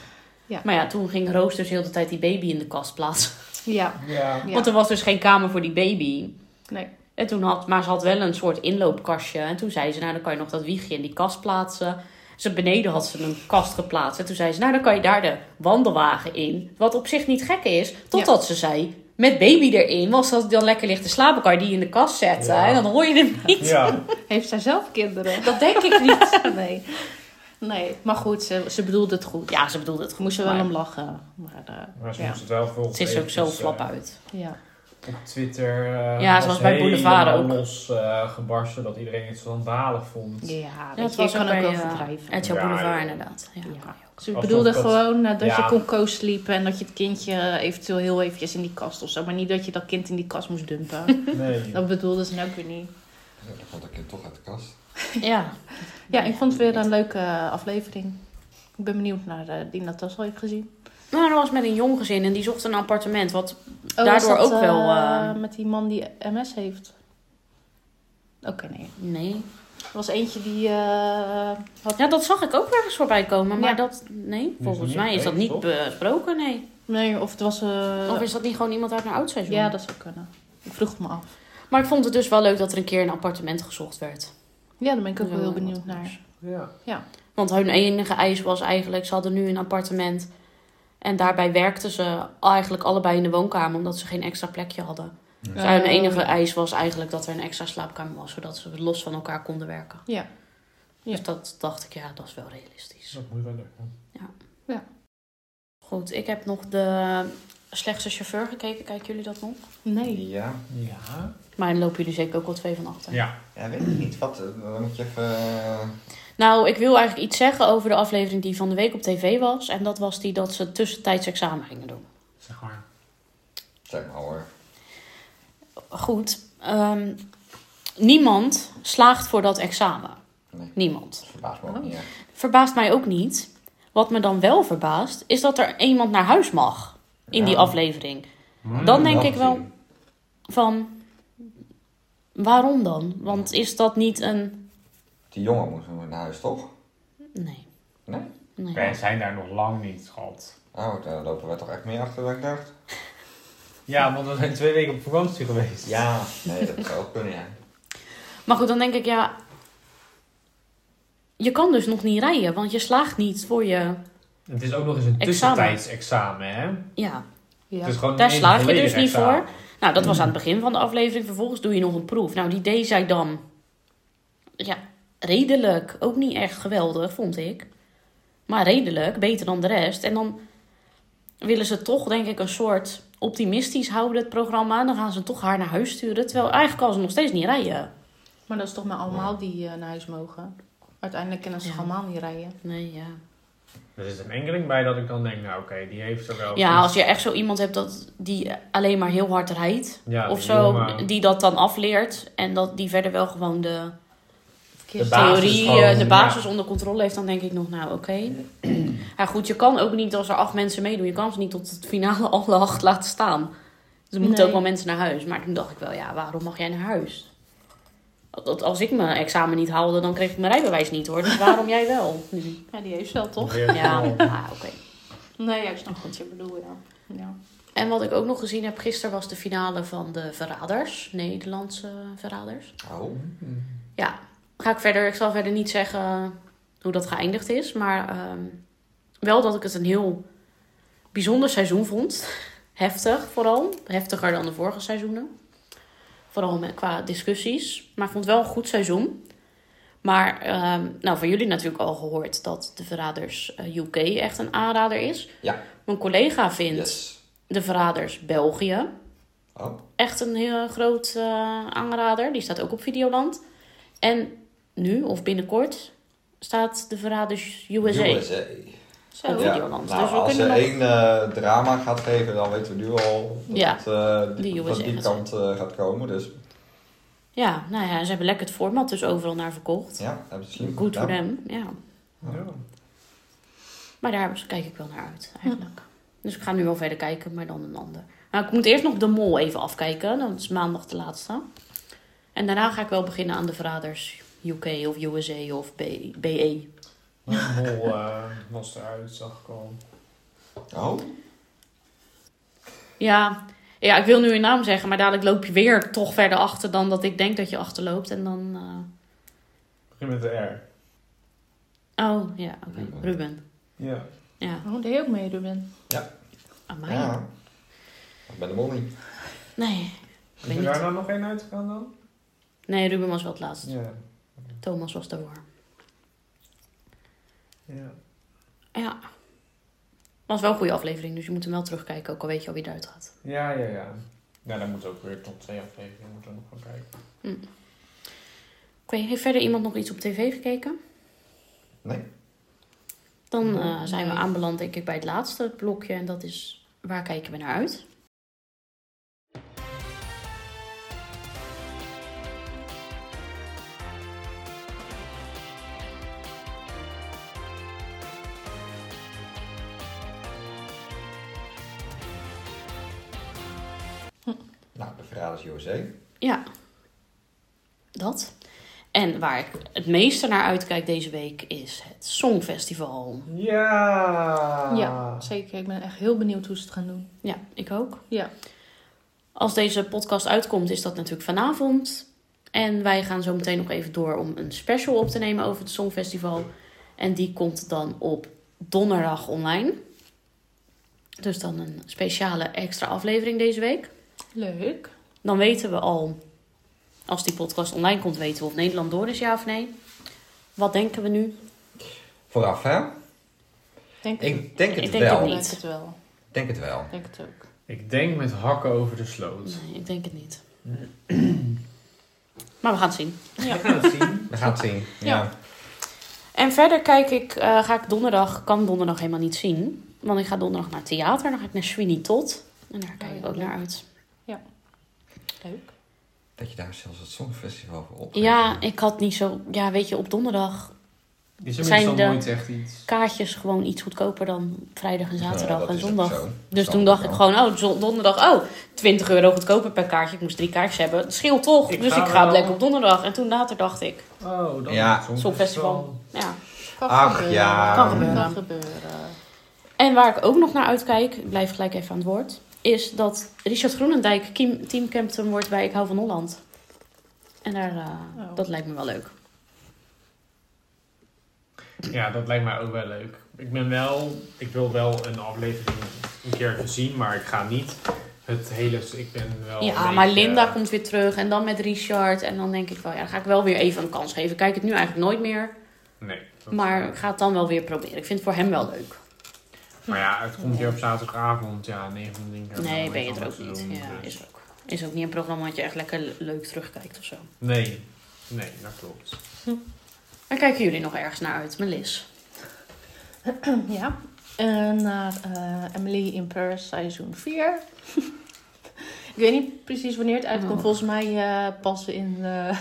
Ja. Maar ja, toen ging Roos dus heel de tijd die baby in de kast plaatsen. Ja, Ja. Ja. Want er was dus geen kamer voor die baby. nee. En toen had, maar ze had wel een soort inloopkastje. En toen zei ze, nou dan kan je nog dat wiegje in die kast plaatsen. Ze beneden had ze een kast geplaatst. En toen zei ze, nou dan kan je daar de wandelwagen in. Wat op zich niet gek is. Totdat ze zei, met baby erin. Want als die dan lekker ligt te slapen, kan je die in de kast zetten. Ja. En dan hoor je hem niet. Ja. Heeft zij zelf kinderen? Dat denk ik niet. nee. Nee, maar goed, ze, ze bedoelde het goed. Ja, ze bedoelde het goed. Moest ze wel maar om lachen. Maar eh, Maar ze Ja. moest het eh, wel dus, volgens Het is ook zo flap uit. ja. Op Twitter eh, Ja, ze was bij Boulevard helemaal ook. los eh, gebarsten dat iedereen het schandalig vond. Ja, Dat weet je, je kan ook bij, eh, overdrijven. RTL Ja, Boulevard joh. inderdaad. Ja. Ja. Ze Als bedoelde dat- dat- gewoon eh, dat ja. je kon co-sliepen en dat je het kindje eh, eventueel heel eventjes in die kast of zo. Maar niet dat je dat kind in die kast moest dumpen. Nee. dat bedoelde ze ook weer niet. Ja, dan komt dat kind toch uit de kast. Ja. Ja, ik vond het weer een leuke eh, aflevering. Ik ben benieuwd naar eh, die Natasja heeft gezien. Nou, dat was met een jong gezin en die zocht een appartement. Wat Oh, Daardoor was dat, ook wel, eh, eh, Met die man die MS heeft. Oké, nee. Nee. Er was eentje die... eh, had... Ja, dat zag ik ook ergens voorbij komen. Maar Ja. dat, nee, volgens niet mij is dat geweest, niet toch? besproken, nee. Nee, of het was... eh, Of is dat niet gewoon iemand uit een oud seizoen? Ja, dat zou kunnen. Ik vroeg het me af. Maar ik vond het dus wel leuk dat er een keer een appartement gezocht werd. Ja, daar ben ik ook wel Ja, heel wat benieuwd anders. naar. Ja. Want hun enige eis was eigenlijk, ze hadden nu een appartement. En daarbij werkten ze eigenlijk allebei in de woonkamer, omdat ze geen extra plekje hadden. Dus hun Eh, enige eis was eigenlijk dat er een extra slaapkamer was, zodat ze los van elkaar konden werken. Ja. Ja. Dus dat dacht ik, ja, dat is wel realistisch. Dat moet wel lukken. Goed, ik heb nog de slechtste chauffeur gekeken. Kijken jullie dat nog? Nee. Ja. Ja. Maar dan lopen jullie zeker ook wel twee van achter. Ja. Ja, weet ik niet. Wat, eh, dan moet je even... eh, Nou, ik wil eigenlijk iets zeggen over de aflevering die van de week op tv was. En dat was die dat ze tussentijds examen gingen doen. Zeg maar. Zeg maar hoor. Goed, ehm, niemand slaagt voor dat examen. Nee. Niemand. Dat verbaast me ook niet. echt. Verbaast mij ook niet. Wat me dan wel verbaast, is dat er iemand naar huis mag in die Ja. aflevering. Hmm. Dan denk ik gezien. wel van, waarom dan? Want is dat niet een... Die jongen moest nog naar huis, toch? Nee. Nee? nee. Wij zijn daar nog lang niet, schat. Oh, daar lopen we toch echt meer achter dan ik dacht? Ja, want we zijn twee weken op vakantie geweest. Ja. Nee, dat zou ook kunnen, ja. Maar goed, dan denk ik, ja... Je kan dus nog niet rijden, want je slaagt niet voor je... Het is ook nog eens een Examen. tussentijds examen, hè? Ja. Ja. Het is gewoon Daar één slaag je dus volledig niet examen. Nou, dat was aan het begin van de aflevering. Vervolgens doe je nog een proef. Nou, die deed zij dan... Ja, redelijk. Ook niet echt geweldig, vond ik. Maar redelijk. Beter dan de rest. En dan willen ze toch, denk ik, een soort optimistisch houden, het programma. En dan gaan ze toch haar naar huis sturen. Terwijl eigenlijk kan ze nog steeds niet rijden. Maar dat is toch maar allemaal die eh, naar huis mogen. Uiteindelijk kunnen ze Ja. allemaal niet rijden. Nee, ja. Er zit een enkeling bij dat ik dan denk, nou oké, die heeft er wel... Ja, als je echt zo iemand hebt dat, die alleen maar heel hard rijdt. Ja, of die zo, jongen. die dat dan afleert. En dat die verder wel gewoon de Verkeers- De basis theorie, gewoon, eh, de ja. basis onder controle heeft. Dan denk ik nog, nou oké. Ja goed, je kan ook niet als er acht mensen meedoen. Je kan ze niet tot het finale alle acht laten staan. Dus er moeten Nee. ook wel mensen naar huis. Maar toen dacht ik wel, ja, waarom mag jij naar huis? Dat- Als ik mijn examen niet haalde, dan kreeg ik mijn rijbewijs niet hoor. Dus waarom jij wel? nu? Ja, die heeft wel toch? Weer Ja, wel. ah, oké. Nee, ja, ik snap wat je bedoelt, ja. ja. En wat ik ook nog gezien heb, gisteren was de finale van de Verraders. Nederlandse Verraders. Oh. Ja, ga ik verder. Ik zal verder niet zeggen hoe dat geëindigd is. Maar ehm, wel dat ik het een heel bijzonder seizoen vond. Heftig vooral. Heftiger dan de vorige seizoenen. Vooral met, qua discussies. Maar ik vond het wel een goed seizoen. Maar ehm, nou, van jullie natuurlijk al gehoord dat De Verraders eh, UK echt een aanrader is. Ja. Mijn collega vindt Yes. De Verraders België Oh, echt een heel groot eh, aanrader. Die staat ook op Videoland. En nu, of binnenkort, staat De dus Verraders USA Zo. op Ja. Videoland. Nou, dus we als ze kunnen nog... één eh, drama gaat geven, dan weten we nu al dat Ja, het eh, die die, USA van die gaat kant eh, gaat komen. Dus Ja, nou ja, ze hebben lekker het format dus overal naar verkocht. ja, hebben ze slim Goed voor gedaan. hem, ja. Ja. Maar daar kijk ik wel naar uit, eigenlijk. Dus ik ga nu wel verder kijken, maar dan een ander. Nou, ik moet eerst nog De Mol even afkijken. Dat is maandag de laatste. En daarna ga ik wel beginnen aan De Verraders UK of USA of B E. BE. Maar de mol eh, was eruit, zag ik al. Oh, Ja, ja, ik wil nu je naam zeggen, maar dadelijk loop je weer toch verder achter dan dat ik denk dat je achterloopt. En dan... eh, Begin met de R. Oh, ja, oké. Ruben. Ruben. Ja. Ja, Oh, deed je ook mee, Ruben? amai. ja. Ik ben de mol niet. Nee. Is er niet. daar nou nog één uitgegaan dan? nee, Ruben was wel het laatste. Ja. Thomas was daarvoor. ja. Ja. Was wel een goede aflevering, dus je moet hem wel terugkijken, ook al weet je al wie eruit gaat. Ja, ja, ja. Ja, daar moeten we ook weer tot twee afleveringen moeten we nog gaan kijken. Oké, heeft verder iemand nog iets op tv gekeken? Nee. Dan eh, zijn we aanbeland, denk ik, bij het laatste blokje. En dat is waar kijken we naar uit? Nou, de verraders USA. Ja, dat. En waar ik het meeste naar uitkijk deze week is het Songfestival. Ja! Ah. Ja, zeker. Ik ben echt heel benieuwd hoe ze het gaan doen. Ja, ik ook. Ja. Als deze podcast uitkomt, is dat natuurlijk vanavond. En wij gaan zo meteen nog even door om een special op te nemen over het Songfestival. En die komt dan op donderdag online. Dus dan een speciale extra aflevering deze week. Leuk. Dan weten we al, als die podcast online komt, weten we of Nederland door is, ja of nee. Wat denken we nu? Vooraf, hè? Denk het, Ik denk het Ik denk wel. het denk niet. het wel. Ik denk het wel. Ik Denk het ook. Ik denk met hakken over de sloot. Nee, ik denk het niet. Maar we gaan het zien. We gaan het zien. We gaan het zien. Ja. Ja. En verder kijk ik, eh, ga ik donderdag, kan donderdag helemaal niet zien. Want ik ga donderdag naar het theater, dan ga ik naar Sweeney Todd. En daar kijk Oh ja, ik ook leuk. naar uit. Leuk. Dat je daar zelfs het Songfestival voor op. Ja, ik had niet zo, ja weet je, op donderdag Is er Zijn meestal de- nooit echt iets? kaartjes gewoon iets goedkoper dan vrijdag en Eh, zaterdag en zondag. Dus Snap toen ik dacht wel. ik gewoon, oh, zo- donderdag, oh, 20 euro goedkoper per kaartje. Ik moest drie kaartjes hebben. Het scheelt toch? Ik dus ga ik ga wel. lekker op donderdag. En toen later dacht ik, Oh, dan Ja. het Songfestival. ja. Kan Ach, gebeuren. ja. Kan gebeuren. Kan gebeuren. En waar ik ook nog naar uitkijk, ik blijf gelijk even aan het woord, is dat Richard Groenendijk kiem- teamcaptain wordt bij Ik hou van Holland. En daar, eh, Oh. dat lijkt me wel leuk. Ja, dat lijkt mij ook wel leuk. Ik ben wel, ik wil wel een aflevering een keer zien, maar ik ga niet het hele. Ik ben wel. ja, Oh, een maar beetje- Linda komt weer terug en dan met Richard. En dan denk ik wel, ja, dan ga ik wel weer even een kans geven. Ik Kijk het nu eigenlijk nooit meer, Nee. dat- maar ik ga het dan wel weer proberen. Ik vind het voor hem wel leuk. Maar ja, het komt hier op zaterdagavond. Ja, 9 van de 10 keer Nee, wel ben je iets er ook anders te niet. doen, Ja, dus- is ook. Is ook niet een programma dat je echt lekker le- leuk terugkijkt of zo. Nee, nee, dat klopt. Eh. Waar kijken jullie nog ergens naar uit, Melis? Ja. En naar eh, Emily in Paris seizoen 4. ik weet niet precies wanneer het uitkomt. Oh. Volgens mij eh, pas in, eh,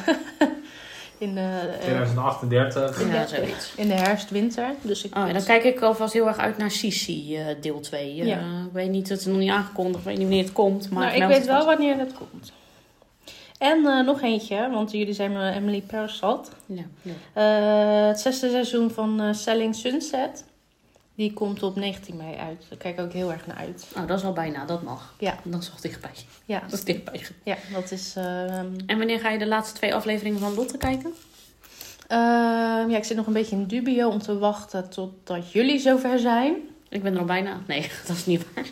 in, de, eh, 2038. Ja. Ja, zoiets. in de herfst, winter. Dus ik Oh, en dan kijk ik alvast heel erg uit naar Sisi eh, deel 2. Eh, Ja. ik weet niet, het is nog niet aangekondigd, ik weet niet wanneer het komt. Maar Nou, ik meld weet het wel vast. wanneer het komt. En eh, nog eentje, want jullie zijn me Emily Paris zat. Ja, ja. Eh, het zesde seizoen van eh, Selling Sunset. Die komt op 19 mei uit. Daar kijk ik ook heel erg naar uit. Oh, dat is al bijna, dat mag. Ja. Dat is al dichtbij. Ja, Dat is dichtbij. ja dat is... ehm, En wanneer ga je de laatste twee afleveringen van Lotte kijken? Ehm, ja, ik zit nog een beetje in dubio om te wachten totdat jullie zover zijn. Ik ben er al bijna. Nee, dat is niet waar.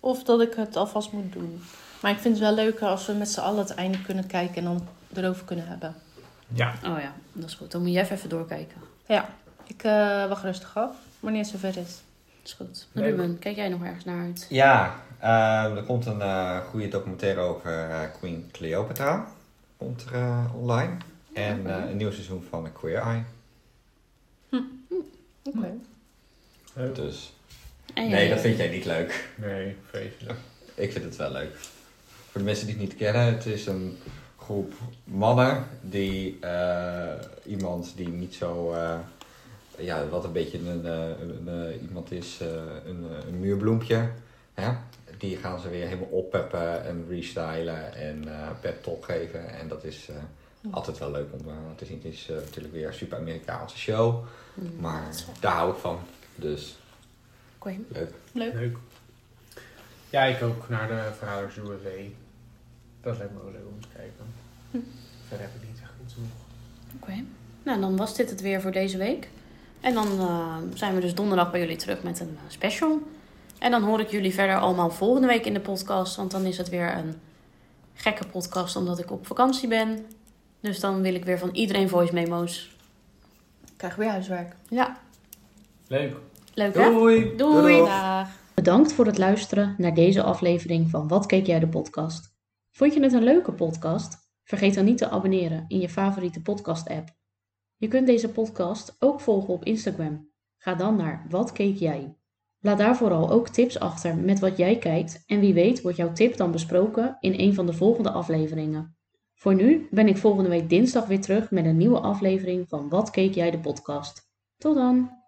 Of dat ik het alvast moet doen. Maar ik vind het wel leuker als we met z'n allen het einde kunnen kijken en dan erover kunnen hebben. Ja. Oh ja, dat is goed. Dan moet jij even doorkijken. Ja, ik eh, wacht rustig af wanneer het zover is. Dat is goed. Leuk. Ruben, kijk jij nog ergens naar uit? Ja, ehm, er komt een eh, goede documentaire over eh, Queen Cleopatra. Komt er eh, online. En Oké. eh, een nieuw seizoen van Queer Eye. Oké. Leuk. Dus. En jij, Nee, dat vind jij niet leuk. Nee, vreselijk. Ik vind het wel leuk. Voor de mensen die het niet kennen, het is een groep mannen die eh, iemand die niet zo. eh, ja, wat een beetje een, eh, een, eh, iemand is, eh, een, eh, een muurbloempje. Hè? Die gaan ze weer helemaal oppeppen en restylen en eh pep talk geven. En dat is eh, altijd wel leuk om eh, te zien. Het is eh, natuurlijk weer een super Amerikaanse show. Hmm. Maar daar hou ik van. Dus Oké. leuk. Leuk. Leuk. Ja, ik ook naar de Verhouders USA. Dat lijkt me wel leuk om te kijken. Hm. Verder heb ik niet echt iets nog. Oké. Nou, dan was dit het weer voor deze week. En dan eh, zijn we dus donderdag bij jullie terug met een eh, special. En dan hoor ik jullie verder allemaal volgende week in de podcast. Want dan is het weer een gekke podcast omdat ik op vakantie ben. Dus dan wil ik weer van iedereen voice memo's. Ik krijg weer huiswerk. Ja, Leuk. leuk hè? Doei! Doei. Doeg. Dag. Bedankt voor het luisteren naar deze aflevering van Wat keek jij de podcast? Vond je het een leuke podcast? Vergeet dan niet te abonneren in je favoriete podcast app. Je kunt deze podcast ook volgen op Instagram. Ga dan naar Wat keek jij? Laat daar vooral ook tips achter met wat jij kijkt en wie weet wordt jouw tip dan besproken in een van de volgende afleveringen. Voor nu ben ik volgende week dinsdag weer terug met een nieuwe aflevering van Wat keek jij de podcast. Tot dan!